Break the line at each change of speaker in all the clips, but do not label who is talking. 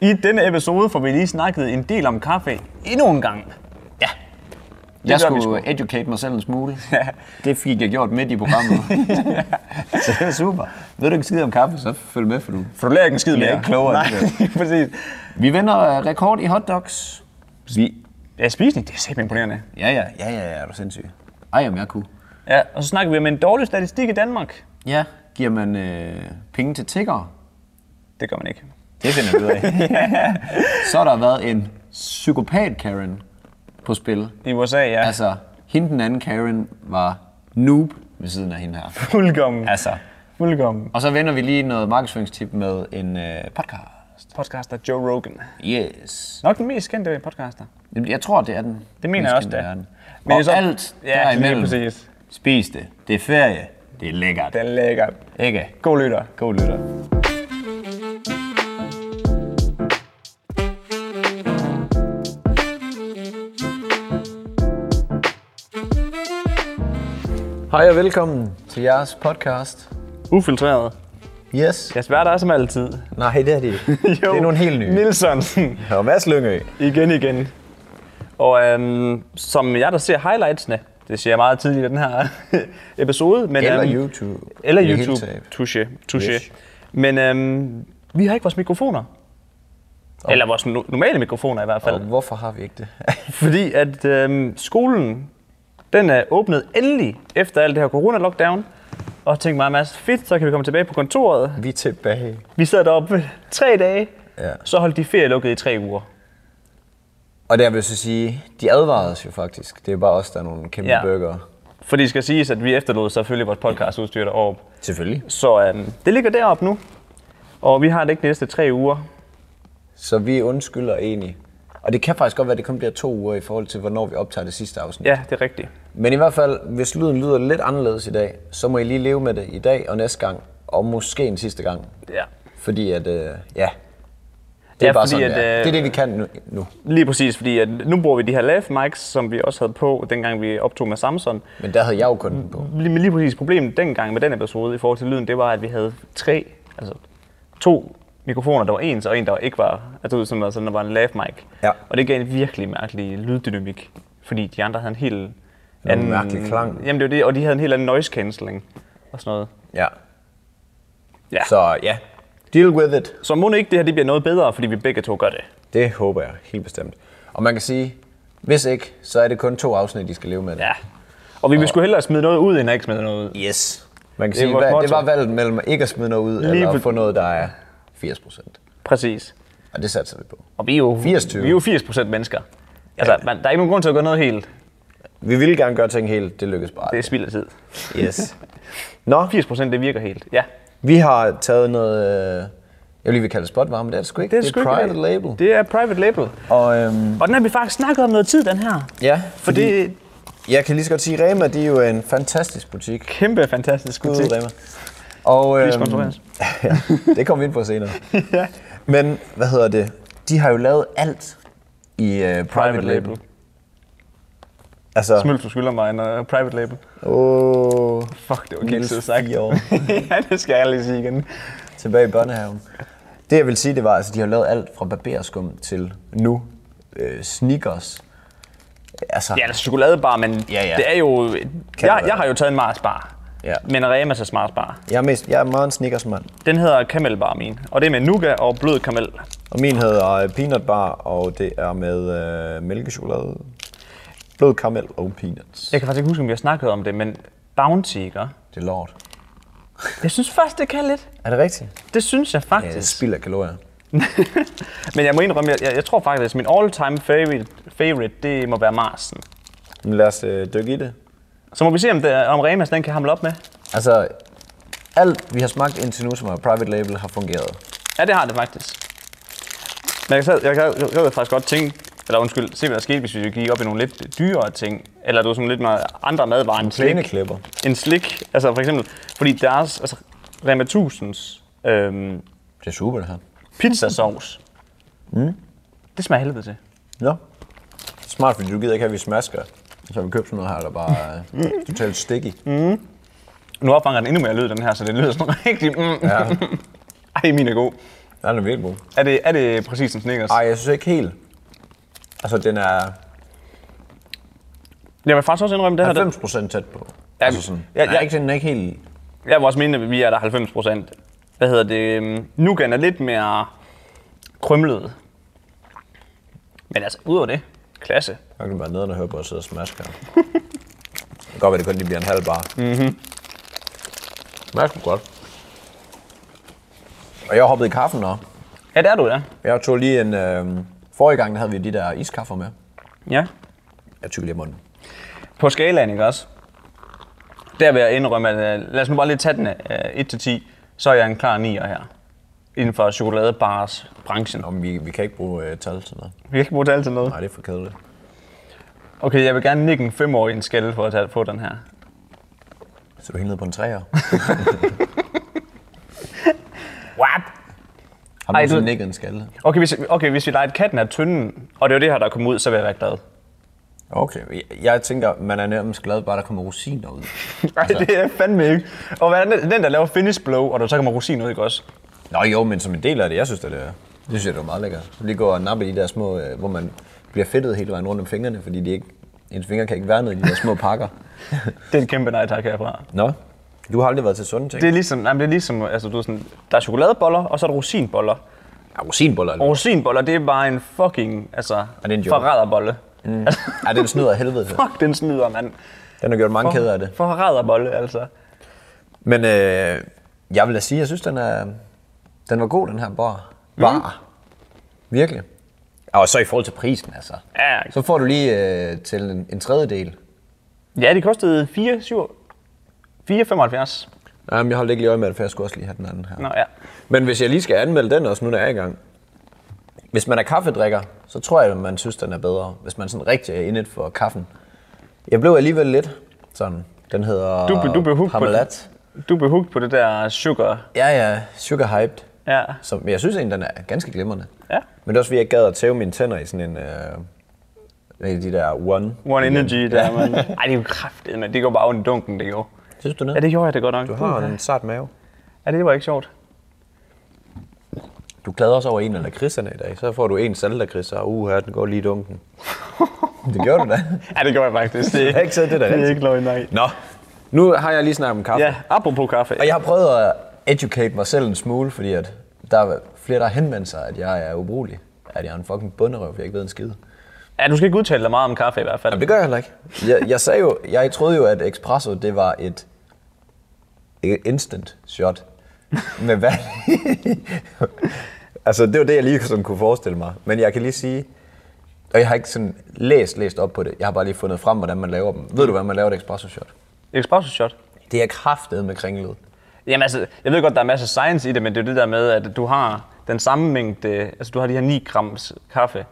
I denne episode får vi lige snakket en del om kaffe endnu en gang.
Ja. Jeg
gør vi
skulle educate mig selv en smule.
Ja.
Det fik jeg gjort midt i programmet. så det er super. Ved du ikke skide om kaffe, så følg med for nu.
For du lærer ikke en skid
Jeg er
mere.
ikke klogere
Nej,
af det
præcis.
Vi vinder øh, rekord i hotdogs. Vi...
Ja, spisning, det er simpelthen imponerende.
Ja, ja, ja, ja, ja, er du sindssyg. Ej, om jeg kunne.
Ja, og så snakker vi om en dårlig statistik i Danmark.
Ja. Giver man øh, penge til tiggere?
Det gør man ikke.
Det finder vi ud af. så har der været en psykopat Karen på spil.
I USA, ja. Altså.
Altså, hende den anden Karen var noob ved siden af hende her.
Fuldkommen.
Altså.
Fuldkommen.
Og så vender vi lige noget markedsføringstip med en øh, podcast.
Podcaster Joe Rogan.
Yes.
Nok den mest kendte podcaster.
Jamen, Jeg tror, det er den.
Det mener jeg også, det
det
er.
er.
Men
Den. Men
det er
og
så-
så, alt
Ja,
ja,
lige
derimellem.
præcis.
Spis det. Det er ferie. Det er lækkert.
Den er lækker.
Ikke?
God lytter.
God lytter. Hej og velkommen til jeres podcast.
Ufiltreret.
Yes.
Jeg svær dig som altid.
Nej, det er det ikke. det er nogle helt nye.
Nilsson.
Og Mads Lyngø.
Igen, igen. Og øhm, som jeg, der ser highlightsene, det ser jeg meget tidligt i den her episode. Men,
Eller
øhm,
YouTube.
Eller
I det hele
YouTube.
taget.
Touché, touché.
Yes.
Men øhm, vi har ikke vores mikrofoner. Eller vores no- normale mikrofoner i hvert fald.
Og hvorfor har vi ikke det?
Fordi at øhm, skolen, den er åbnet endelig efter alt det her corona-lockdown. Og tænkte mig, Mads, fedt, så kan vi komme tilbage på kontoret.
vi er tilbage.
Vi sad deroppe tre dage,
Ja.
så holdt de ferie lukket i tre uger.
Og der vil jeg så sige, de advarede os jo faktisk. Det er bare os, der er nogle kæmpe
Ja.
ja. bøger.
For det skal siges, at vi efterlod selvfølgelig vores podcastudstyr deroppe.
Selvfølgelig.
Så øhm, det ligger deroppe nu. Og vi har det ikke de næste tre uger.
Så vi undskylder egentlig. Og det kan faktisk godt være, at det kun bliver to uger i forhold til, hvornår vi optager det sidste afsnit.
Ja, det er rigtigt.
Men i hvert fald, hvis lyden lyder lidt anderledes i dag, så må I lige leve med det i dag og næste gang. Og måske en sidste gang.
Ja.
Fordi at, øh, ja. Det er
Ja,
bare
fordi
sådan,
at,
det, er.
øh,
det er det, vi kan nu. nu.
Lige præcis, fordi at nu bruger vi de her live mics, som vi også havde på, dengang vi optog med Samson.
Men der havde jeg jo kun den på.
Lige, men lige præcis problemet dengang med den episode i forhold til lyden, det var, at vi havde tre, altså to mikrofoner, der var ens, og en, der ikke var, altså ud som altså, der var en lav mic.
Ja.
Og det gav en virkelig mærkelig lyddynamik, fordi de andre havde en helt
mærkelig klang.
Jamen det var det, og de havde en helt anden noise cancelling og sådan noget.
Ja.
Ja.
Så ja, deal with it.
Så må ikke det her det bliver noget bedre, fordi vi begge to gør det.
Det håber jeg helt bestemt. Og man kan sige, hvis ikke, så er det kun to afsnit, de skal leve med det.
Ja. Og vi vil sgu hellere smide noget ud, end at ikke smide noget ud.
Yes. Man kan
Det er
sige,
vores
hvad, det
motto.
var valget mellem ikke at smide noget ud,
Lige
eller
præ-
at få noget, der er 80 procent.
Præcis.
Og det satser vi på.
Og vi er jo
80-20.
vi er jo 80 procent mennesker. Altså, man, der er ikke nogen grund til at gøre noget helt.
Vi ville gerne gøre ting helt, det lykkes bare.
Det er spild af tid.
Yes. Nå,
80 procent, det virker helt. Ja.
vi har taget noget, øh, jeg vil lige vil kalde det spotvarme, men det er det sgu ikke.
sgu ikke-
private label.
Det er private label.
Og øhm,
Og den har vi faktisk snakket om noget tid, den her.
ja,
For det er
jeg kan lige så godt sige, Rema, de er jo en fantastisk butik.
kæmpe fantastisk
Skud
butik.
ud, Rema. Og, øhm,
Please sponsoreres.
ja, det kommer vi ind på senere. Men hvad hedder det? De har jo lavet alt i uh, private,
Private
label.
label.
Altså,
Smølf, du skylder mig en uh, private label.
åh,
Fuck, det var
Niels
kikset sagt.
fire år.
ja, det skal jeg lige sige igen.
tilbage i børnehaven. Det jeg vil sige, det var, at altså, de har lavet alt fra barberskum til nu øh, sneakers. Altså,
Ja, altså chokoladebar, men ja, ja.
ja.
det er jo... Jeg,
være.
jeg har jo taget en Mars bar.
Ja.
Men Remas er Smart bar.
jeg, er mest, jeg er meget en sneakersmand.
Den hedder Kamelbar min. Og det er med nougat og blød kamel.
Og min hedder øh, Peanut Bar, og det er med øh, mælkechokolade, blød karamel og peanuts.
Jeg kan faktisk ikke huske, om vi har snakket om det, men Bounty, ikke?
Det er lort.
Jeg synes faktisk, det kan lidt.
Er det rigtigt?
Det synes jeg
Ja,
faktisk.
det spilder kalorier.
Men jeg må indrømme, jeg, jeg, jeg tror faktisk, at min all-time favorite, favorite, det må være Marsen.
Men lad os øh, dykke i det.
Så må vi se, om, det, om Remas den kan hamle op med.
Altså, alt vi har smagt indtil nu, som er private label, har fungeret.
Ja, det har det faktisk. Men jeg kan, jeg kan, jeg kan faktisk godt tænke, eller undskyld, se hvad der skete, hvis vi gik op i nogle lidt dyrere ting. Eller du sådan lidt med andre madvarer end slik.
klipper.
En slik, altså for eksempel, fordi deres, altså Rema 1000's øhm,
Det er super, det her.
pizzasauce, mm. det smager af helvede til.
Ja. Smart, fordi du gider ikke have, at vi smasker. Så har vi købt sådan noget her, der bare er totalt sticky.
Nu opfanger den endnu mere lyd, den her, så det lyder sådan rigtig... Mm.
Ja.
Ej, min er god.
Ja, den er virkelig god.
Er det, er det præcis en Snickers?
Ej, jeg synes ikke helt. Altså, den er
Jeg vil faktisk også indrømme det her. Det,
90 procent tæt på.
Ja,
altså sådan.
ja,
Ja, ja.
ja.
Ikke, den er ikke helt...
jeg vil også mene, at vi er der 90 procent. Hvad hedder det? øhm, Nougat er lidt mere krymlet. Men altså, udover det, klasse.
Jeg kan bare nede og høre på at sidde og smaske her. det kan godt være, det kun lige bliver en halv bar. Mm-hmm.
Mhm.
Men jeg sgu godt. Og jeg har hoppet i kaffen nu.
Ja, der er du, ja.
Jeg tog lige en... Øh, forrige gang der havde vi de der iskaffer med.
ja.
Jeg tykker lige i munden.
På skalaen, ikke også? Der vil jeg indrømme, at øh, lad os nu bare lige tage den øh, 1-10, så er jeg en klar 9'er her. Inden for chokoladebars-branchen.
Nå, men vi, vi kan ikke bruge øh, tal til noget.
Vi kan ikke bruge det altid noget.
Nej, det er for kedeligt.
Okay, jeg vil gerne nikke en 5-årig en skalle for at tage- få den her.
Så er du helt nede på en træer.
What?
Har
Ej,
du sådan
du-
nikket en skalle?
Okay, hvis, okay, hvis vi leger katten af tynden, og det er jo det her, der kommer ud, så vil jeg være glad.
Okay, jeg, jeg tænker, man er nærmest glad bare, der kommer rosiner ud. Altså,
Nej, det er jeg fandme ikke. Og hvad er den, den, der laver finish blow, og der så kommer rosin ud, ikke også?
Nå jo, men som en del af det, jeg synes, det er, det synes jeg, det er meget lækkert. Så lige gå og nappe i de der små, øh, hvor man bliver fedtet hele vejen rundt om fingrene, fordi de ikke, ens fingre kan ikke være nede i de der små pakker.
Det er et kæmpe nej tak herfra.
Nå, du har aldrig været til sunde ting.
Det
Det...
er ligesom, nej, men det er ligesom altså, du er sådan, der er chokoladeboller, og så er der rosinboller.
Ja, rosinboller.
Og
Oh.
rosinboller, det er bare en fucking, altså,
det er en joke?
forræderbolle. Mm. Altså,
Ja, den snyder af helvede til.
fuck, den snyder, mand.
Den har gjort mange kæder af det.
Forræderbolle, altså.
Men øh, jeg vil da sige, jeg synes, den, er, den var god, den her bar. Bar. Mm. Virkelig. Og så i forhold til prisen, altså.
Ja,
Så får du lige øh, til en, en tredjedel.
ja det kostede 4, 7, 4,75.
Jamen, jeg holdt ikke lige øje med det, for jeg skulle også lige have den anden her.
Nå, ja.
Men hvis jeg lige skal anmelde den også, nu der er i gang. Hvis man er kaffedrikker, så tror jeg, at man synes, den er bedre. Hvis man sådan rigtig er indet for kaffen. Jeg blev alligevel lidt sådan. Den hedder
Du, du blev hooked på
Parmalat.
Du blev hooked på det der sugar.
Ja, ja. Sugar Hyped.
Ja.
Som, men jeg synes egentlig, den er ganske glimrende.
Ja.
Men det er også fordi, jeg ikke gad at tæve mine tænder i sådan en... Øh, i de der one.
One Energy, der, mand. Ej, det er jo kraftigt, men det går bare ondt i dunken, det gjorde.
Synes du det?
Ja, det gjorde jeg det godt nok.
Du har en sart mave.
Ja, det var ikke sjovt.
Du glæder os over en af lakridserne i dag. Så får du en saltlakrids, og uha, den går lige i dunken. det gjorde du da.
Ja, det gjorde jeg faktisk. Det
Jeg har ikke taget det der
Det er
rigtigt.
ikke løgn, nej.
Nå, nu har jeg lige snakket om kaffe.
Ja, apropos kaffe.
Og jeg har prøvet at educate mig selv en smule, fordi at der er flere, der har henvendt sig, at jeg er ubrugelig. At jeg er en fucking bunderøv, for jeg ikke ved en skid.
Ja, du skal ikke udtale dig meget om kaffe i hvert fald.
Jamen, det gør jeg heller ikke. Jeg, jeg, sagde jo, jeg troede jo, at espresso, det var et et instant shot med vand. altså, det var det, jeg lige sådan kunne forestille mig. Men jeg kan lige sige, og jeg har ikke sådan læst, læst op på det. Jeg har bare lige fundet frem, hvordan man laver dem. Ved du, hvordan man laver et espresso shot?
Espresso shot.
Det er kraftet med kringlet.
Jamen altså, jeg ved godt, der er masser af science i det, men det er jo det der med, at du har den samme mængde, altså du har de her 9 grams kaffe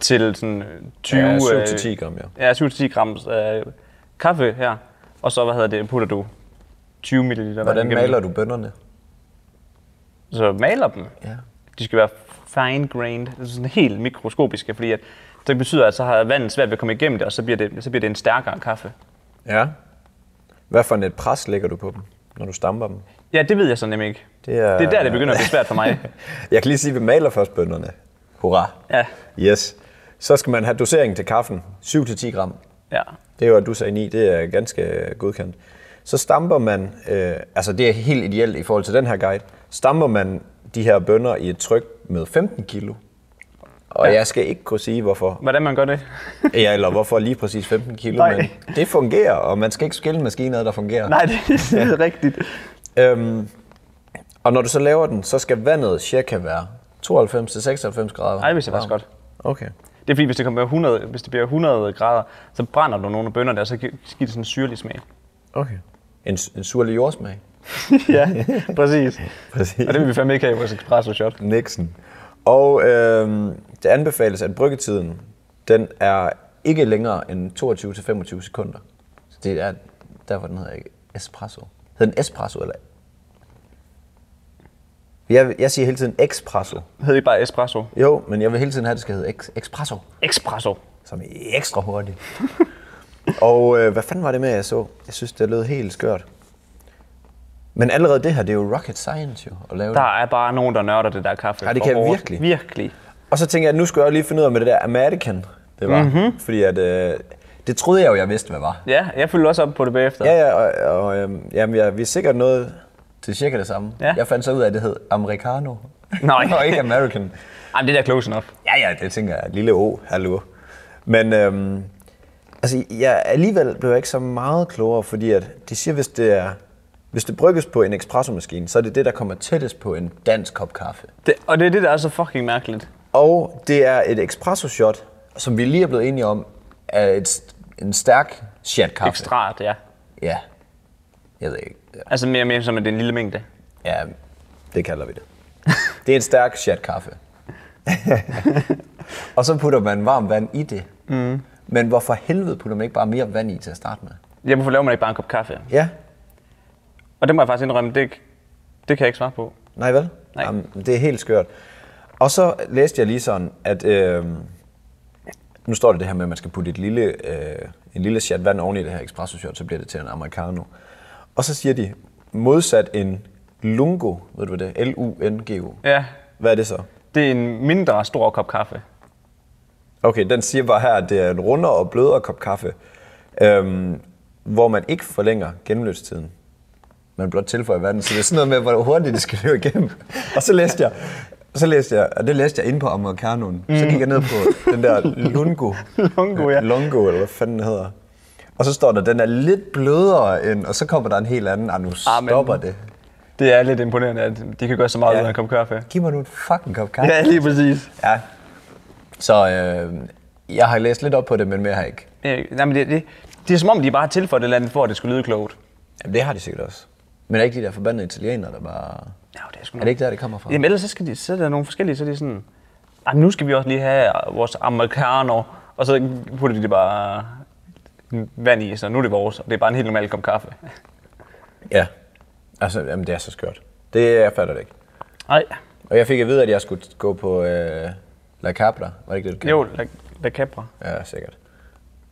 til sådan øh, 20...
Ja, 7
øh,
til 10 gram, ja.
Ja, 7-10 grams øh, kaffe her, og så, hvad hedder det, putter du 20 ml.
Hvordan maler du bønderne?
Så maler dem.
Ja.
De skal være fine-grained, altså sådan helt mikroskopiske, fordi at det betyder, at så har vandet svært ved at komme igennem det, og så bliver det, så bliver det en stærkere kaffe.
Ja. Hvad for et pres lægger du på dem, når du stamper dem?
Ja, det ved jeg så nemlig ikke.
Det er-
det er der, det begynder at blive svært for mig.
Jeg kan lige sige, at vi maler først bønderne. Hurra.
Ja.
Yes. Så skal man have doseringen til kaffen. 7-10 gram.
ja.
Det var, du sagde 9. Det er ganske øh, godkendt. Så stamper man, øh, altså det er helt ideelt i forhold til den her guide, stamper man de her bønder i et tryk med 15 kilo. Og
Ja.
ja. jeg skal ikke kunne sige, hvorfor
Hvordan man gør det?
Ja, eller hvorfor lige præcis 15 kilo,
Nej.
men det fungerer, og man skal ikke skille maskiner, der fungerer.
Nej, det er ja. rigtigt.
Øhm, og når du så laver den, så skal vandet cirka være 92-96 grader.
Ej, hvis jeg faktisk godt.
Okay.
Det er fordi, hvis det, kommer 100, hvis det bliver 100 grader, så brænder du nogle af bønderne, og så gi- så giver det sådan en syrlig smag.
okay. En, en surlig jordsmag.
ja, præcis.
Præcis.
Og det vil vi fandme ikke have i vores espresso shot.
Nixon. Og øhm, det anbefales, at bryggetiden, den er ikke længere end 22-25 sekunder. Så det er derfor, den hedder ikke espresso. Hedder den espresso, eller? Jeg, jeg siger hele tiden espresso.
Hed ikke bare espresso.
Jo, men jeg vil hele tiden have, at det skal hedde ex- espresso,
Espresso.
som er ekstra hurtigt. og øh, hvad fanden var det med, jeg så? Jeg synes, det lød helt skørt. Men allerede det her, det er jo rocket science jo, at lave
Der er bare nogen, der nørder det der kaffe.
Ja, det
for
kan jeg
hårdt.
virkelig.
Virkelig.
det. Og så tænker jeg, at nu skal jeg jo lige finde ud af med det der American, det var.
Mhm.
Mm-hmm. Fordi at, øh, det troede jeg jo, jeg vidste, hvad var.
Ja, jeg følger også op på det bagefter.
Ja, ja, og, og øhm, jamen, ja, vi er sikkert noget til cirka det samme.
Ja.
Jeg fandt så ud af, at det hed Americano.
Nej.
og ikke American.
Jamen, det der er close enough.
Ja, ja, det tænker jeg. Lille O, hallo. Men øhm, altså, jeg, alligevel blev jeg ikke så meget klogere, fordi at de siger, hvis det er hvis det brygges på en espressomaskine, så er det det, der kommer tættest på en dansk kop kaffe.
Det, og det er det, der er så fucking mærkeligt.
Og det er et espresso shot, som vi lige er blevet enige om, er et, st- en stærk shot kaffe.
Ekstraart, ja.
Ja. Jeg ved ikke.
Altså mere og mere som, at det er en lille mængde.
Ja, det kalder vi det. Det er en stærk chat kaffe. og så putter man varmt vand i det. Mm. Men hvorfor helvede putter man ikke bare mere vand i til at starte med?
Ja, hvorfor laver man ikke bare en kop kaffe?
Ja,
Og det må jeg faktisk indrømme, det, det kan jeg ikke svare på.
nej vel?
Nej.
det er helt skørt. Og så læste jeg lige sådan, at øh, nu står det det her med, at man skal putte et lille, øh, en lille chat vand oven i det her espresso shot, så bliver det til en americano. Og så siger de, modsat en lungo, ved du hvad det er? L-U-N-G-O.
Ja,
Hvad er det så?
det er en mindre stor kop kaffe.
Okay, den siger bare her, at det er en rundere og blødere kop kaffe, øhm, hvor man ikke forlænger gennemløbstiden. Man blot tilføjer vandet, så det er sådan noget med, hvor hurtigt det skal løbe igennem. Og så læste jeg, så læste jeg, og det læste jeg inde på Americanoen. Mm. Så gik jeg ned på den der Lungo.
Lungo, ja.
Lungo, eller hvad fanden den hedder. Og så står der, den er lidt blødere end, og så kommer der en helt anden, ah, nu
Ah, men-
stopper det.
Det er lidt imponerende, at de kan gøre så meget ja. uden en kop kaffe.
Giv mig nu en fucking kop kaffe.
Ja, lige præcis.
Ja. Så øh, jeg har læst lidt op på det, men mere har jeg ikke.
Øh, nej, men det, det, det er som om, de bare har tilføjet et eller andet, for at det skulle lyde klogt.
Jamen, det har de sikkert også. Men er ikke de der forbandede italienere, der bare...
Ja, det er sgu
Er det ikke der, det kommer fra?
Jamen ellers så, skal de, så er der nogle forskellige, så er de sådan, "Ej, men nu skal vi også lige have vores americano, og så putter de det bare vand i, så nu er det vores, og det er bare en helt normal kop kaffe.
Ja. Altså, jamen, det er så skørt. Det jeg fatter det ikke.
Nej,
Og jeg fik at vide, at jeg skulle gå på øh, La Capra. Var det ikke det, du kaldte
jo, la, la Capra.
det? Ja, sikkert.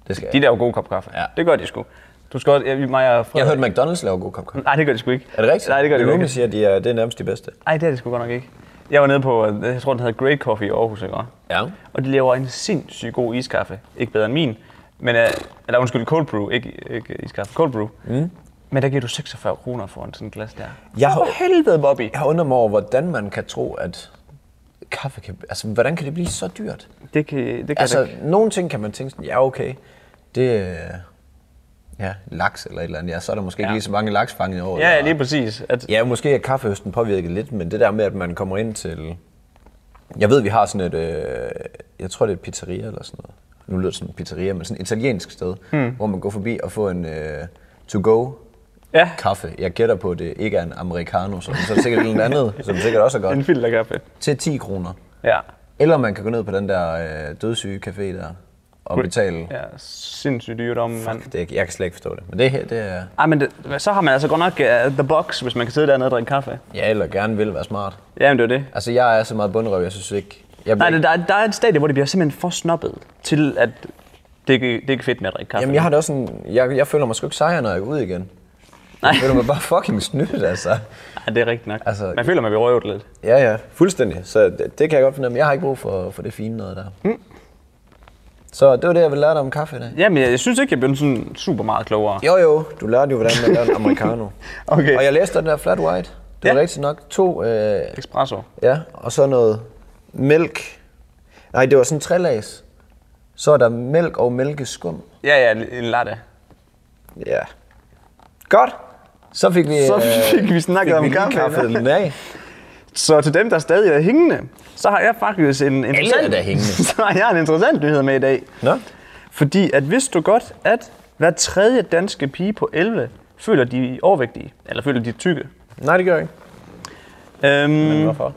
Det skal jeg.
De der er jo gode kop kaffe.
Ja.
Det gør de sgu. Du skal også, jeg, mig og
Jeg
Frederik.
har hørt, McDonald's laver god kop kaffe.
Nej, det gør de sgu ikke.
Er det rigtigt?
Nej, det gør de
Min
jo
roomie
ikke.
siger, at de er, det er nærmest de bedste.
Nej, det er det sgu godt nok ikke. Jeg var nede på, øh, jeg tror den hedder Great Coffee i Aarhus, ikke?
Ja.
Og de laver en sindssygt god iskaffe. Ikke bedre end min, men øh, eller undskyld, cold brew, ikke, ikke iskaffe, cold brew. Mm. Men der giver du 46 kroner for en sådan et glas der.
Jeg har,
For helvede, Bobby!
jeg har undret mig over, hvordan man kan tro, at kaffe kan... Altså, hvordan kan det blive så dyrt?
Det kan, det kan altså,
Altså,
ikke.
nogle ting kan man tænke sådan, ja okay, det er ja, laks eller et eller andet. Ja, så er der måske ja. ikke lige så mange laks fanget i år.
Ja, ja,
eller-
lige præcis. At,
ja, måske er kaffehøsten påvirket lidt, men det der med, at man kommer ind til... Jeg ved, vi har sådan et... Øh, jeg tror, det er et pizzeria eller sådan noget. Nu lyder det som en pizzeria, men sådan et italiensk sted, hmm. hvor man går forbi og får en øh, to-go
ja,
kaffe. Jeg gætter på, at det ikke er en americano, så, så er det sikkert en andet, som sikkert også er
en
godt.
filterkaffe.
Til 10 kroner.
Ja.
Eller man kan gå ned på den der øh, dødssyge café der og betale
Ja, sindssygt dyrt om, mand.
Det, jeg kan slet ikke forstå det. Men det her, det er...
Ej, men det, så har man altså godt nok uh, the box, hvis man kan sidde dernede og drikke kaffe.
Ja, eller gerne vil være smart.
Jamen, det er jo det.
Altså, jeg er så meget bundrøv, jeg synes ikke... Jeg
Nej, det, der, er- der er et stadie, hvor det bliver simpelthen for snobbet til, at det, ikke- det er ikke fedt med at drikke kaffe.
Jamen, jeg har det også sådan... Jeg, jeg føler mig sgu ikke sejr, når jeg er ude igen.
Nej.
Jeg føler mig bare fucking snydt, altså.
Ja, det er rigtigt nok.
Altså-
Altså, man føler, man bliver røvet lidt.
Ja, ja, fuldstændig. Så det, det kan jeg godt fornemme. Jeg har ikke brug for, for det fine noget der. Mm. Så det var det, jeg ville lære dig om kaffe i dag.
Jamen, jeg, jeg synes ikke, jeg blev sådan super meget klogere.
Jo, jo, du lærte jo, hvordan man laver en americano.
Okay.
Og jeg læste den der flat white. Det var
Ja.
rigtigt nok to øh,
Espresso.
Ja, og så noget mælk. Nej, det var sådan tre lags. Så er der mælk og mælkeskum.
Ja, ja, en latte.
Ja. Godt. Så fik vi,
Så fik vi
øh,
snakket om
lige
kaffe.
kaffet den af.
Så til dem, der stadig er hængende, så har jeg faktisk en interessant...
der er hængende.
så har jeg en interessant nyhed med i dag.
Nå.
Fordi at vidste du godt, at hver tredje danske pige på 11 føler de er overvægtige, eller føler de er tykke.
Nej, det gør jeg ikke.
Mm. Øhm,
Men hvorfor?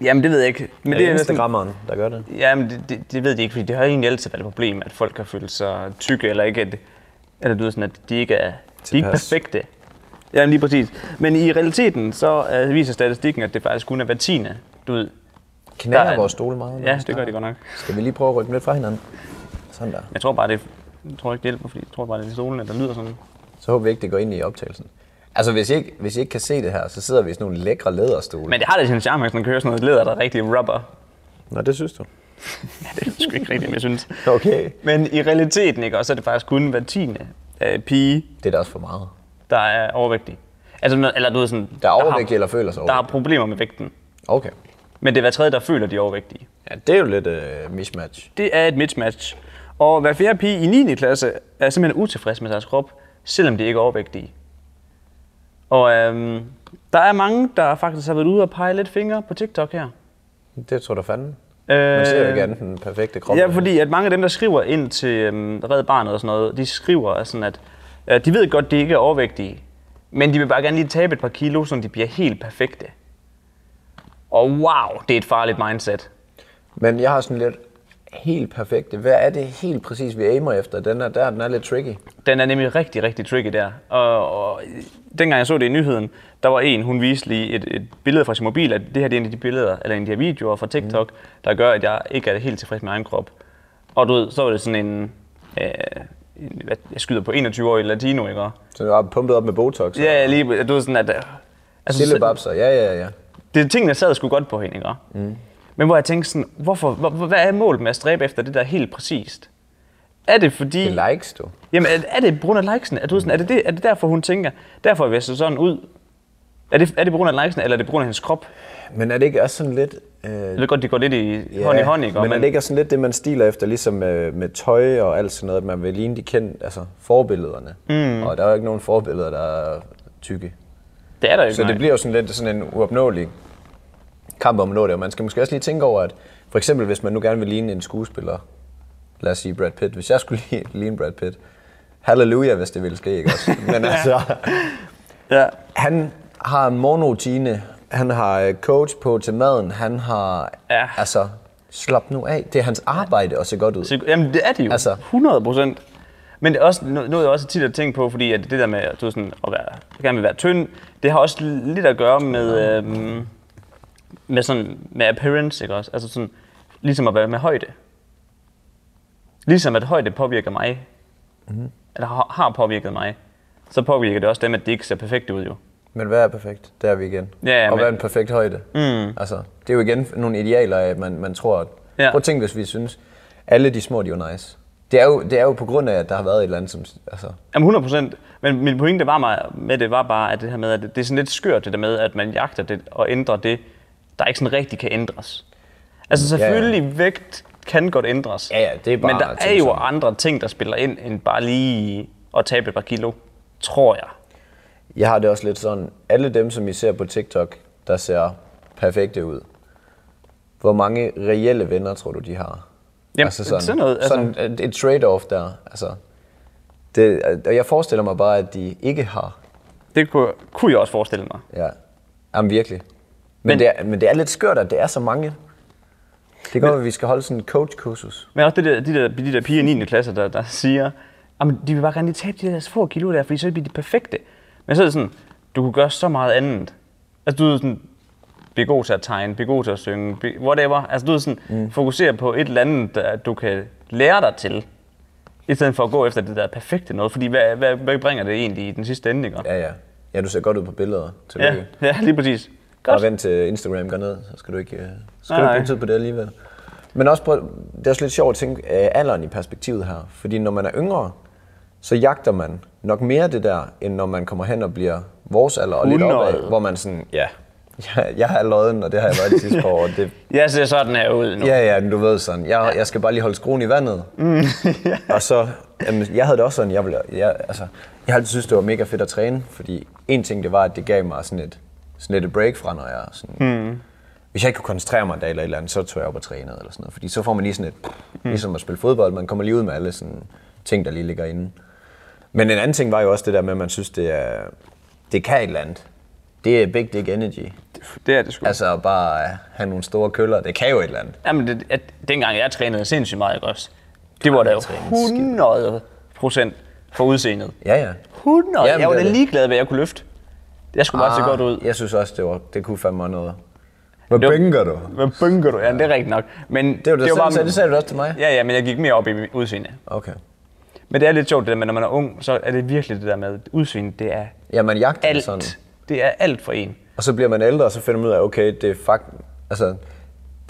Jamen, det ved jeg ikke. Men
Er det er
næsten-
Instagrammeren, der gør det.
Jamen, det, det, det ved de ikke, fordi det har egentlig altid været et problem, at folk har følt sig tykke, eller ikke, at, eller du ved sådan, at de ikke er, de er ikke
Tilpas.
perfekte. Jamen lige præcis. Men i realiteten, så uh, viser statistikken, at det faktisk kun er hver tiende, du ved. Der
Knækker
er-
vores stole meget.
Ja, det gør det godt nok.
Skal vi lige prøve at rykke dem lidt fra hinanden? Sådan der.
Jeg tror bare, det, jeg tror ikke, det hjælper, fordi jeg tror bare, det er stolen, der lyder sådan.
Så håber vi ikke, det går ind i optagelsen. Altså, hvis I, ikke, hvis I ikke kan se det her, så sidder vi i sådan nogle lækre læderstole.
Men det har da sin charme, hvis man kører sådan noget læder, der er rigtig rubber.
Nå, det synes du.
Ja, det er sgu ikke rigtigt, jeg synes.
Okay.
Men i realiteten, ikke, også, så er det faktisk kun hver tiende øh, pige,
Det er da også for meget.
der er overvægtig. Altså, når- eller du ved sådan...
Der er
har,
overvægtige eller føler sig
Der har
overvægtige.
problemer med vægten.
Okay.
Men det er hver tredje, der føler, de er overvægtige.
Ja, det er jo lidt øh, mismatch.
Det er et mismatch. Og hver fjerde pige i 9. klasse er simpelthen utilfreds med deres krop, selvom de ikke er overvægtige. Og øhm, der er mange, der faktisk har været ude og pege lidt fingre på TikTok her.
Det tror du fanden.
Øh,
Man ser jo ikke andet end den perfekte krop.
Ja, fordi at mange af dem, der skriver ind til øhm, Red Barnet og sådan noget, de skriver at sådan, at øh, de ved godt, de ikke er overvægtige, men de vil bare gerne lige tabe et par kilo, så de bliver helt perfekte. Og wow, det er et farligt mindset.
Men jeg har sådan lidt helt perfekte. Hvad er det helt præcis, vi aimer efter? Den er der, den er lidt tricky.
Den er nemlig rigtig, rigtig tricky der. Og, og dengang jeg så det i nyheden, der var en, hun viste lige et, et billede fra sin mobil, at det her det er en af de billeder, eller en af de her videoer fra TikTok, mm. der gør, at jeg ikke er helt tilfreds med egen krop. Og du ved, så var det sådan en, øh, en hvad, jeg skyder på 21-årig latino, ikke? Og-
Så du har pumpet op med Botox.
Ja, ja, lige, du ved sådan, at... øh, Altså,
Stille
så,
babser, ja, ja, ja.
det, tingene sad sgu godt på hende, ikke? Mm. Men hvor jeg tænkte sådan, hvorfor, hvor, hvor- hvad er målet med at stræbe efter det der helt præcist? Er det fordi...
Det likes du.
Jamen, er, er det på grund af likesen? Er, du sådan, er, det det, er det derfor, hun tænker, derfor vil jeg se sådan ud? Er det, er det på grund af likesen, eller er det på grund af hendes krop?
Men er det ikke også sådan lidt... Øh,
Jeg ved godt, de går lidt i hånd i hånd, ikke? Og
Men er det ikke også sådan lidt det, man stiler efter, ligesom øh, med tøj og alt sådan noget, at man vil ligne de kendte, altså forbillederne. Mm. Og der er jo ikke nogen forbilleder, der er tykke.
det er der jo ikke,
Så
nej.
det bliver jo sådan lidt sådan en uopnåelig kamp om at nå det, og man skal måske også lige tænke over, at for eksempel hvis man nu gerne vil ligne en skuespiller, lad os sige Brad Pitt, hvis jeg skulle li- ligne Brad Pitt, halleluja, hvis det ville ske, ikke også? Men altså,
Ja.
han har en monotine, han har øh, coach på til maden, han har,
Ja.
altså, slap nu af, det er hans arbejde at se godt ud.
Så, jamen, det er det jo.
Altså.
Altså. 100 procent. Men det er også no- noget, jeg også tit har tænkt på, fordi at det der med du ved, sådan, at være, gerne vil være tynd, det har også lidt at gøre med, øhm, med, sådan, med appearance, ikke også? Altså sådan, ligesom at være med højde. Ligesom at højde påvirker mig, mm-hmm. eller har, har påvirket mig, så påvirker det også dem, at det ikke ser perfekt ud jo.
Men hvad er perfekt? Der er vi igen.
Ja, ja,
og hvad er
men-
en perfekt højde? Mm. Altså, det er jo igen nogle idealer, af, at man, man tror, at...
Ja.
Prøv at tænke, hvis vi synes, alle de små, de er jo nice. Det er jo, det er jo på grund af, at der har været et eller andet, som... Altså,
Jamen 100 procent. Men min pointe var mig med det var bare, at det her med, at det det er sådan lidt skørt det der med, at man jagter det og ændrer det, der ikke sådan rigtig kan ændres. Altså
ja.
selvfølgelig ja, ja. vægt kan godt ændres.
Ja, ja, det er bare
Men der
at
er
tænke
jo
sådan.
andre ting, der spiller ind, end bare lige at tabe et par kilo, tror jeg.
jeg har det også lidt sådan, alle dem, som I ser på TikTok, der ser perfekte ud. Hvor mange reelle venner, tror du, de har?
Jamen, sådan noget, altså.
sådan et- et trade-off der. Altså, det, og jeg forestiller mig bare, at de ikke har
Det kunne, kunne jeg også forestille mig.
Ja, jamen virkelig. Men, men,
Men-
det er, men det er lidt skørt, at det er så mange. Det går, at vi skal holde sådan en coach-kursus.
Men også det der, de, der, de der piger i 9. klasse, der, der siger, at de vil bare gerne lige tabe de der få kilo der, fordi så bliver de perfekte. Men så er det sådan, du kunne gøre så meget andet. Altså du ved sådan, blive god til at tegne, blive god til at synge, blive- whatever. Altså du ved sådan, mm. fokusere på et eller andet, der, du kan lære dig til, i stedet for at gå efter det der perfekte noget. Fordi hvad, hvad, hvad bringer det egentlig i den sidste ende, ikke?
Ja, ja. Ja, du ser godt ud på billeder. Tillykke.
Ja, ja, lige præcis.
Bare
Godt.
vent til Instagram går ned, så skal du ikke, øh, skal
Nej,
du ikke
nej.
bruge tid på det alligevel. Men også prøv, det er også lidt sjovt at tænke øh, alderen i perspektivet her. Fordi når man er yngre, så jagter man nok mere det der, end når man kommer hen og bliver vores alder og lidt
Hundrede.
opad, hvor man sådan, ja, jeg, jeg er lodden, og det har jeg været de sidste par år, og det,
Jeg ser sådan her ud nu.
Ja, ja, men du ved sådan, jeg, jeg skal bare lige holde skruen i vandet. Mm, yeah. Og så, jamen, jeg havde det også sådan, jeg, ville, jeg, altså, jeg har altid synes, det var mega fedt at træne, fordi en ting det var, at det gav mig sådan et, sådan lidt et break fra, når jeg sådan, mm. hvis jeg ikke kunne koncentrere mig en dag eller et eller andet, så tog jeg op og trænede eller sådan noget, fordi så får man lige sådan et, mm. ligesom at spille fodbold, man kommer lige ud med alle sådan ting, der lige ligger inde. Men en anden ting var jo også det der med, at man synes, det er, det kan et eller andet. Det er big dick energy.
Det er det sgu.
Altså at bare øh, have nogle store køller, det kan jo et eller andet.
Jamen, det, at, dengang jeg trænede sindssygt meget, ikke også? Det var da jo 100 procent for udseendet.
Ja, ja.
100!
Jamen,
Jamen, jeg var
det er
da
det. Ah.
ligeglad, hvad jeg kunne løfte. Jeg skulle bare se godt ud.
Jeg synes også, det, var, det kunne fandme noget. Hvad
Det var-
bænker du?
Hvad bunker du? Ja, det er rigtigt nok. Men
Det var det, det, var sagde, det sagde du også til mig.
Ja, ja, men jeg gik mere op i udseende.
Okay.
Men det er lidt sjovt det der med, når man er ung, så er det virkelig det der med, at udseende, det er
Ja, man jagter det
Alt.
sådan.
Det er alt for en.
Og så bliver man ældre, og så finder man ud af, okay, det er fakt, altså,